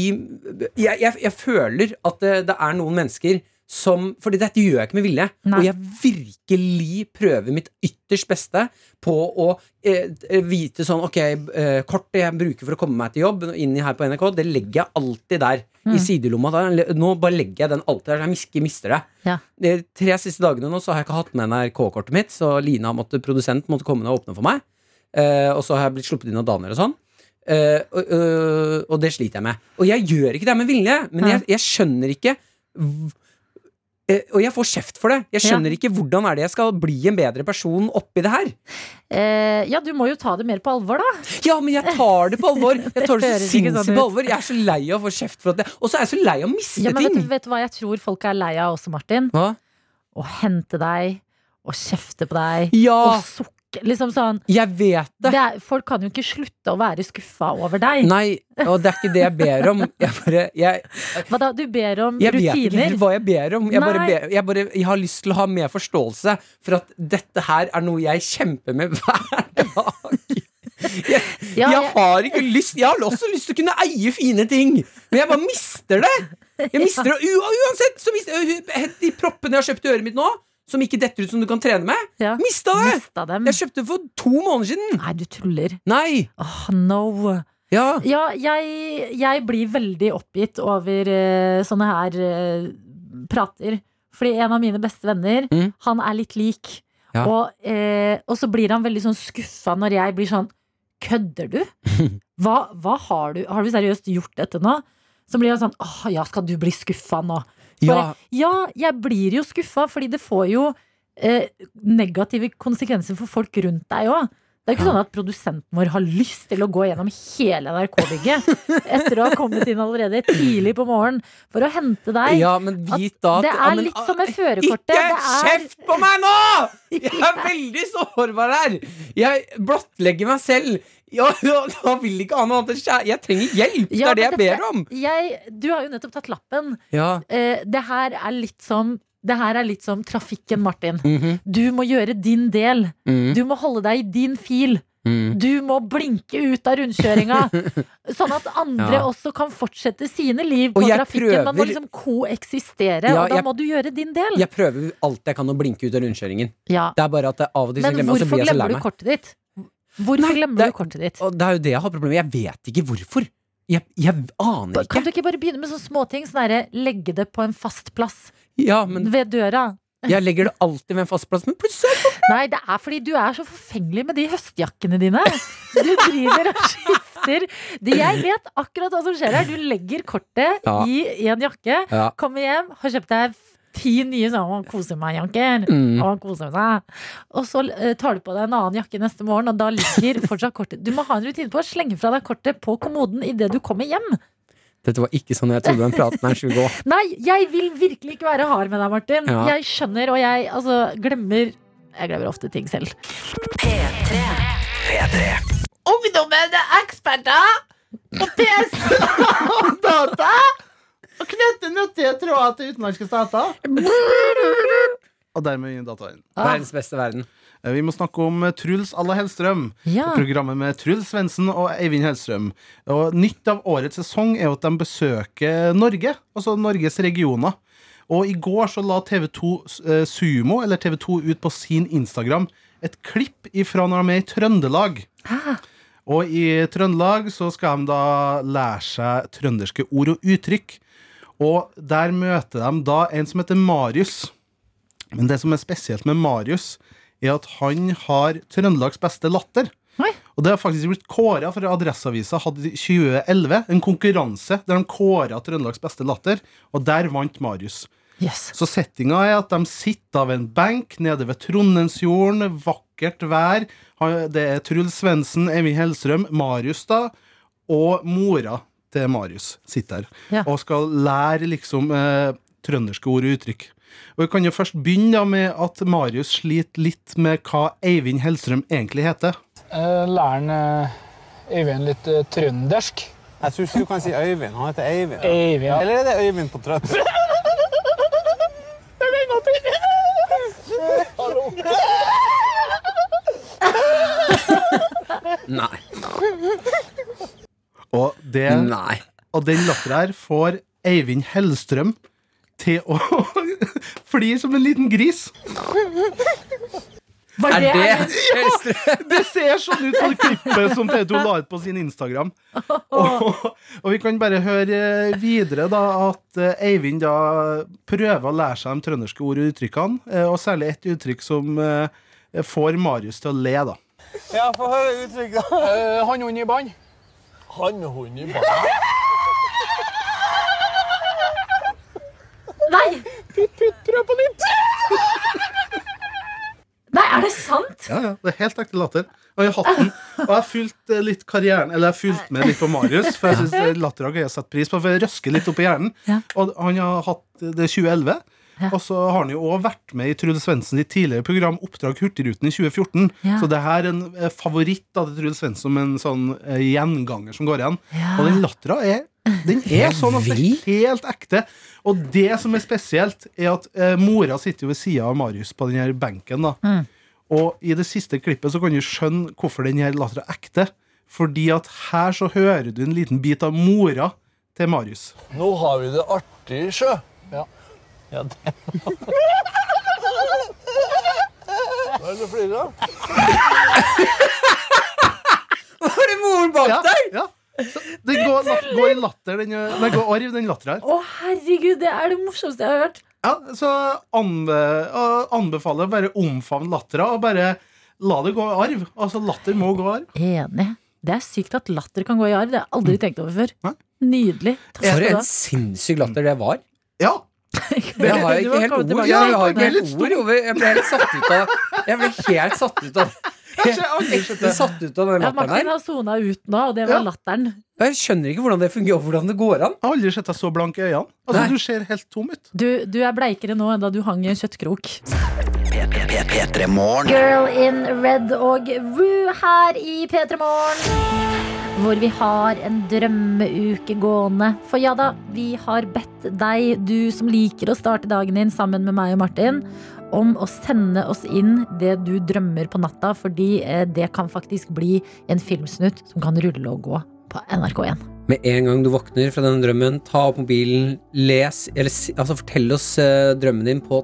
[SPEAKER 3] jeg, jeg, jeg føler at det, det er noen mennesker som Fordi dette gjør jeg ikke med vilje.
[SPEAKER 2] Nei.
[SPEAKER 3] Og jeg virkelig prøver mitt ytterst beste på å eh, vite sånn Ok, eh, kortet jeg bruker for å komme meg til jobb inn i her på NRK, det legger jeg alltid der. I sidelomma. Der. Nå bare legger jeg den alltid der, så jeg mis- ikke mister det.
[SPEAKER 2] Ja.
[SPEAKER 3] De tre siste dagene nå så har jeg ikke hatt med NRK-kortet mitt, så Lina, måtte, produsent, måtte komme ned og åpne for meg. Eh, og så har jeg blitt sluppet inn av Daniel og sånn. Eh, og, øh, og det sliter jeg med. Og jeg gjør ikke det med vilje, men jeg, jeg skjønner ikke v- eh, Og jeg får kjeft for det. Jeg skjønner ikke hvordan er det jeg skal bli en bedre person oppi det her.
[SPEAKER 2] Eh, ja, du må jo ta det mer på alvor, da.
[SPEAKER 3] Ja, men jeg tar det på alvor! Jeg tar det
[SPEAKER 2] Det
[SPEAKER 3] så
[SPEAKER 2] høres ikke sånn
[SPEAKER 3] sinnssykt på
[SPEAKER 2] ut.
[SPEAKER 3] alvor. Jeg er så lei av å få kjeft for at jeg Og så er jeg så lei av å miste
[SPEAKER 2] Ja, men vet,
[SPEAKER 3] ting!
[SPEAKER 2] du- vet du hva jeg tror folk er lei av også, Martin?
[SPEAKER 3] Hva?
[SPEAKER 2] Å hente deg, å kjefte på deg,
[SPEAKER 3] Ja!
[SPEAKER 2] å sukke Liksom sånn
[SPEAKER 3] Jeg vet
[SPEAKER 2] det. er, folk kan jo ikke slutte å være skuffa over deg.
[SPEAKER 3] Nei, og det er ikke det jeg ber om. Jeg bare jeg,
[SPEAKER 2] Hva da? Du ber om
[SPEAKER 3] jeg vet ikke
[SPEAKER 2] rutiner?
[SPEAKER 3] helt hva jeg ber om. Jeg, bare
[SPEAKER 2] Nei.
[SPEAKER 3] ber, jeg, bare, jeg har lyst til å ha mer forståelse for at dette her er noe jeg kjemper med hver dag. Jeg, jeg har ikke lyst Jeg har også lyst til å kunne eie fine ting, men jeg bare mister det. Jeg mister det u Uansett! Så mister, de proppene jeg har kjøpt i øret mitt nå, som ikke detter ut som du kan trene med, mista det! Jeg kjøpte det for to måneder siden.
[SPEAKER 2] Nei, du tuller.
[SPEAKER 3] Nei.
[SPEAKER 2] Åh, no.
[SPEAKER 3] Ja.
[SPEAKER 2] jeg, jeg blir veldig oppgitt over eh, sånne her eh, prater. Fordi en av mine beste venner,
[SPEAKER 12] Mm.
[SPEAKER 2] han er litt lik.
[SPEAKER 12] Ja.
[SPEAKER 2] Og, eh, og så blir han veldig sånn skuffa når jeg blir sånn Kødder du? Hva, hva har du Har du seriøst gjort dette nå? Så blir han sånn Åh, ja, skal du bli skuffa nå?
[SPEAKER 12] Ja.
[SPEAKER 2] Bare, ja, jeg blir jo skuffa, fordi det får jo eh, negative konsekvenser for folk rundt deg òg. Det er jo ikke sånn at produsenten vår har lyst til å gå gjennom hele NRK-bygget etter å ha kommet inn allerede tidlig på morgenen for å hente deg.
[SPEAKER 3] Ja, men vit da
[SPEAKER 2] at det
[SPEAKER 3] at- ja,
[SPEAKER 2] er
[SPEAKER 3] men, ah,
[SPEAKER 2] litt som med førerkortet.
[SPEAKER 3] Ikke
[SPEAKER 2] Det er-
[SPEAKER 3] kjeft på meg nå! Jeg er veldig sårbar her. Jeg blottlegger meg selv. Ja, da, da vil ikke ha noe annet enn kjære. Jeg trenger hjelp.
[SPEAKER 2] Ja,
[SPEAKER 3] det er det jeg
[SPEAKER 2] men
[SPEAKER 3] ber om.
[SPEAKER 2] dette- Jeg, du har jo nettopp tatt lappen.
[SPEAKER 3] Ja.
[SPEAKER 2] Eh, det her er litt som det her er litt som trafikken, Martin.
[SPEAKER 3] Mhm,
[SPEAKER 2] Du må gjøre din del.
[SPEAKER 12] Mhm.
[SPEAKER 2] Du må holde deg i din fil.
[SPEAKER 12] Mhm.
[SPEAKER 2] Du må blinke ut av rundkjøringa. sånn at andre
[SPEAKER 12] Ja.
[SPEAKER 2] også kan fortsette sine liv på
[SPEAKER 3] Og jeg
[SPEAKER 2] trafikken. Man må
[SPEAKER 3] prøver-
[SPEAKER 2] liksom koeksistere,
[SPEAKER 3] Ja,
[SPEAKER 2] og da
[SPEAKER 3] jeg-
[SPEAKER 2] må du gjøre din del.
[SPEAKER 3] Jeg prøver alt jeg kan å blinke ut av rundkjøringen.
[SPEAKER 2] Ja.
[SPEAKER 3] Det er bare at det av og til så
[SPEAKER 2] Men
[SPEAKER 3] glemmer jeg, og så
[SPEAKER 2] hvorfor
[SPEAKER 3] blir jeg så lei
[SPEAKER 2] glemmer du
[SPEAKER 3] meg.
[SPEAKER 2] kortet ditt? Hvorfor glemmer du kortet ditt?
[SPEAKER 3] Og det er jo det jeg har problemer med. Jeg vet ikke hvorfor. Jeg, jeg aner
[SPEAKER 2] Kan
[SPEAKER 3] ikke.
[SPEAKER 2] du ikke bare begynne med sånne småting? Sånn derre legge det på en fast plass.
[SPEAKER 3] Ja, men
[SPEAKER 2] Ved døra.
[SPEAKER 3] jeg legger det alltid ved en fast plass, men plutselig
[SPEAKER 2] Nei, det er fordi du er så forfengelig med de høstjakkene dine. Du driver og skifter. De, jeg vet akkurat hva som skjer her. Du legger kortet
[SPEAKER 12] Ja.
[SPEAKER 2] i, i en jakke,
[SPEAKER 12] Ja.
[SPEAKER 2] kommer hjem, har kjøpt deg ti nye sånn kose meg-jakker.
[SPEAKER 12] Mm.
[SPEAKER 2] Og så eh, tar du på deg en annen jakke neste morgen, og da ligger fortsatt kortet Du må ha en rutine på å slenge fra deg kortet på kommoden idet du kommer hjem.
[SPEAKER 3] Dette var ikke sånn jeg trodde den praten her skulle gå.
[SPEAKER 2] Nei, jeg vil virkelig ikke være hard med deg, Martin.
[SPEAKER 3] Ja.
[SPEAKER 2] Jeg skjønner, og jeg altså, glemmer Jeg glemmer ofte ting selv.
[SPEAKER 12] Ungdommen er eksperter på PC og data.
[SPEAKER 4] Og knytte nyttige tråder til utenlandske stater. Og dermed ingen dataverden.
[SPEAKER 3] Ah. Verdens beste verden.
[SPEAKER 4] Vi må snakke om eh, Truls Alla Hellstrøm.
[SPEAKER 2] Ja.
[SPEAKER 4] Programmet med Truls Svendsen og Eivind Hellstrøm. Og nytt av årets sesong er jo at de besøker Norge, altså Norges regioner. Og i går så la TV2 eh, Sumo, eller TV2, ut på sin Instagram et klipp ifra når de er i Trøndelag. Og i Trøndelag så skal de da lære seg trønderske ord og uttrykk. Og der møter de da en som heter Marius. Men det som er spesielt med Marius, er at han har Trøndelags beste latter. Og det har faktisk blitt kåra, for Adresseavisa hadde i 2011 en konkurranse der de kåra Trøndelags beste latter, og der vant Marius. Så settinga er at de sitter av en benk nede ved Trondheimsfjorden, vakkert vær. Han- Det er Truls Svendsen, Emil Hellstrøm, Marius da, og mora til Marius sitter her. Og skal lære liksom eh, trønderske ord og uttrykk. Og Vi kan jo først begynne da med at Marius sliter litt med hva Eivind Hellstrøm egentlig heter.
[SPEAKER 13] Eh, Lærer han eh, Øyvind litt eh, trøndersk? Jeg tror ikke du kan si Øyvind. Han heter Eivind. Eivind. Eller er det Øyvind på trøtt?
[SPEAKER 3] Nei.
[SPEAKER 4] Og, det, og den latteren her får Eivind Hellstrøm til å flire som en liten gris.
[SPEAKER 12] Var Er det- det-
[SPEAKER 4] Ja, det ser sånn ut på det klippet som TV2 la ut på sin Instagram. Og, og vi kan bare høre eh, videre da at eh, Eivind da prøver å lære seg de trønderske ord og uttrykkene, eh, og særlig et uttrykk som eh, får Marius til å le, da.
[SPEAKER 13] Ja, få høre uttrykket. Uh, Hannhund i bånd. Hannhund i bånd.
[SPEAKER 2] Nei!
[SPEAKER 13] Putt, putt, prøv på nytt.
[SPEAKER 2] Nei, er det sant?
[SPEAKER 4] Ja, ja, det er helt ekte latter. Og jeg har hatt den. Og jeg har fulgt eh, litt karrieren Eller jeg har fulgt med litt på Marius, for jeg syns latter har jeg satt pris på. For jeg røsker litt opp i hjernen. Og han har hatt eh, det eh, er 2011. Og så har han jo òg vært med i Trude Svendsen i tidligere program Oppdrag Hurtigruten i 2014.
[SPEAKER 2] Ja.
[SPEAKER 4] Så det her er en eh, favoritt av Trude Svendsen som en sånn eh, gjenganger som går igjen. Og den lattera er den er sånn at det er helt ekte. Og det som er spesielt, er at eh, mora sitter jo ved sida av Marius på den her benken. da
[SPEAKER 2] Mm.
[SPEAKER 4] og i det siste klippet så kan du skjønne hvorfor den her latteren er ekte. Fordi at her så hører du en liten bit av mora til Marius.
[SPEAKER 13] Nå har vi det artig, sjø. Ja. ja det. Hva er det du flirer av?
[SPEAKER 4] Var det moren bak ja, deg? Ja. Så det går, la, går i latter, den, eh, nei, går arv, den latteren her.
[SPEAKER 2] Å, herregud, det er det morsomste jeg har hørt.
[SPEAKER 4] Ja, så anbe, å- anbefaler jeg bare omfavn lattera, og bare la det gå i arv. Altså, latter må gå i arv.
[SPEAKER 2] Enig. Det er sykt at latter kan gå i arv. Det har jeg aldri tenkt over før. Nydelig. Takk
[SPEAKER 3] For
[SPEAKER 2] skal du
[SPEAKER 3] en
[SPEAKER 2] ha.
[SPEAKER 3] sinnssyk latter det var.
[SPEAKER 4] Ja.
[SPEAKER 3] Jeg har
[SPEAKER 2] Du
[SPEAKER 3] ikke
[SPEAKER 2] har
[SPEAKER 3] helt
[SPEAKER 2] kommet
[SPEAKER 3] ord.
[SPEAKER 2] tilbake.
[SPEAKER 3] Ja, jeg har
[SPEAKER 2] Det
[SPEAKER 3] ikke
[SPEAKER 2] er
[SPEAKER 3] helt ord over Jeg ble helt satt ut av Jeg ble helt satt ut av Ekte satt ut av den
[SPEAKER 2] Ja,
[SPEAKER 3] latteren
[SPEAKER 2] Martin
[SPEAKER 3] her.
[SPEAKER 2] har sona ut nå, og det var latteren.
[SPEAKER 3] Jeg skjønner ikke hvordan det fungerer, hvordan det går an.
[SPEAKER 4] Jeg har aldri sett deg så blank i øynene. Altså, du ser helt tom ut.
[SPEAKER 2] Du, du er bleikere nå enn da du hang i en kjøttkrok.
[SPEAKER 5] P3 Morgen.
[SPEAKER 2] Girl in Red og Roo her i P3 Morgen. Hvor vi har en drømmeuke gående. For ja da, vi har bedt deg, du som liker å starte dagen din sammen med meg og Martin, om å sende oss inn det du drømmer på natta, fordi eh, det kan faktisk bli en filmsnutt som kan rulle og gå på NRK1.
[SPEAKER 3] Med en gang du våkner fra denne drømmen, ta opp mobilen, les eller si- altså fortell oss eh, drømmen din på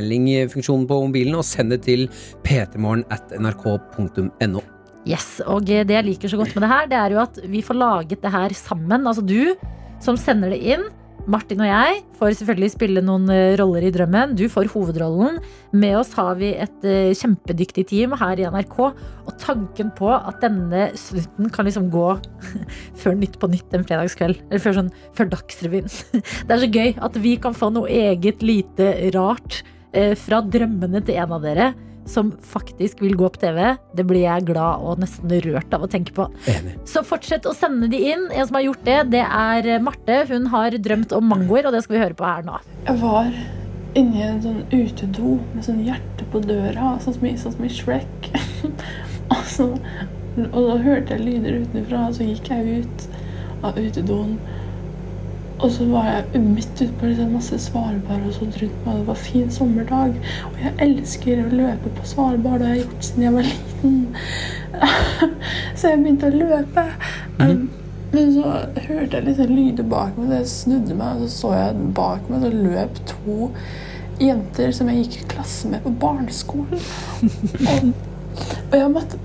[SPEAKER 3] talemeldingfunksjonen på mobilen, og send det til ptmorgen at nrk.no.
[SPEAKER 2] Yes, og det jeg liker så godt med det her, det er jo at vi får laget det her sammen. Altså du som sender det inn. Martin og jeg får selvfølgelig spille noen eh, roller i Drømmen. Du får hovedrollen. Med oss har vi et eh, kjempedyktig team her i NRK. Og tanken på at denne snutten kan liksom gå før Nytt på Nytt en fredagskveld. Eller før, sånn, før Dagsrevyen. Det er så gøy at vi kan få noe eget lite rart eh, fra drømmene til en av dere som faktisk vil gå på TV. Det blir jeg glad og nesten rørt av å tenke på. Så fortsett å sende de inn. En som har gjort det, det er Marte. Hun har drømt om mangoer, og det skal vi høre på her nå.
[SPEAKER 14] Jeg var inni en sånn utedo med sånn hjerte på døra, sånn som i, sånn som i Shrek. og, så, og da hørte jeg lyder utenfra, og så gikk jeg ut av utedoen. Og så var jeg midt ute på liksom masse Svalbard og sånt rundt meg. og Det var fin sommerdag. Og jeg elsker å løpe på Svalbard. Det har jeg gjort siden jeg var liten. så jeg begynte å løpe. Men så hørte jeg liksom lyder bak meg, så jeg snudde meg, og så så jeg bak meg, så løp to jenter som jeg gikk i klasse med på barneskolen. Og, og jeg, måtte,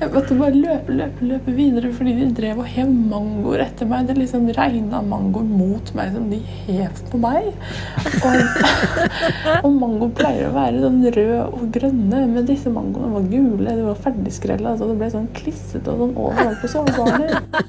[SPEAKER 14] jeg måtte bare løpe, løpe, løpe videre, fordi de drev og hev mangoer etter meg. Det liksom regna mangoer mot meg som de hev på meg. Og, og mango pleier å være sånn rød og grønne, men disse mangoene var gule. De var ferdigskrella, så det ble sånn klissete og sånn overalt på sårbarnet.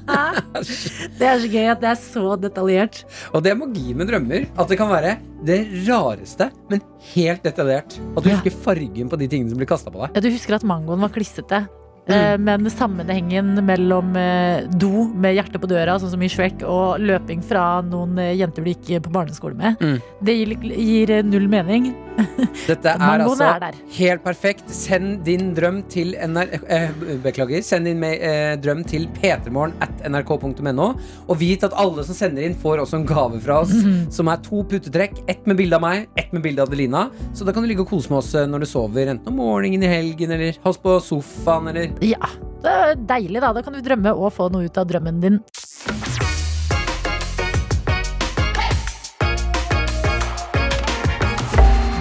[SPEAKER 2] Det er så gøy at det er så detaljert.
[SPEAKER 3] Og det er magi med drømmer. At det kan være det rareste, men helt detaljert. At du husker fargen på de tingene som blir kasta på deg.
[SPEAKER 2] Ja, du husker at mangoen var klissete. eh, Men sammenhengen mellom eh, do med hjerte på døra, sånn som i Shrek, og løping fra noen eh, jenter du gikk på barneskole med,
[SPEAKER 3] Mm.
[SPEAKER 2] det gir, gir eh, null mening.
[SPEAKER 3] Dette er
[SPEAKER 2] Mangoen
[SPEAKER 3] altså
[SPEAKER 2] er der.
[SPEAKER 3] helt perfekt. Send din drøm til NR... Eh, beklager. Send din ma- eh, drøm til p3morgen at nrk.no. Og vit at alle som sender inn, får også en gave fra oss,
[SPEAKER 2] Mhm.
[SPEAKER 3] som er to putetrekk. Ett med bilde av meg, ett med bilde av Adelina. Så da kan du ligge og kose med oss eh, når du sover, enten om morgenen, i helgen, eller oss på sofaen, eller
[SPEAKER 2] Ja, det er deilig da. Da kan du drømme og få noe ut av drømmen din.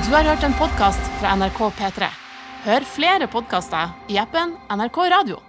[SPEAKER 1] Du har hørt en podkast fra NRK P3. Hør flere podkaster i appen NRK Radio.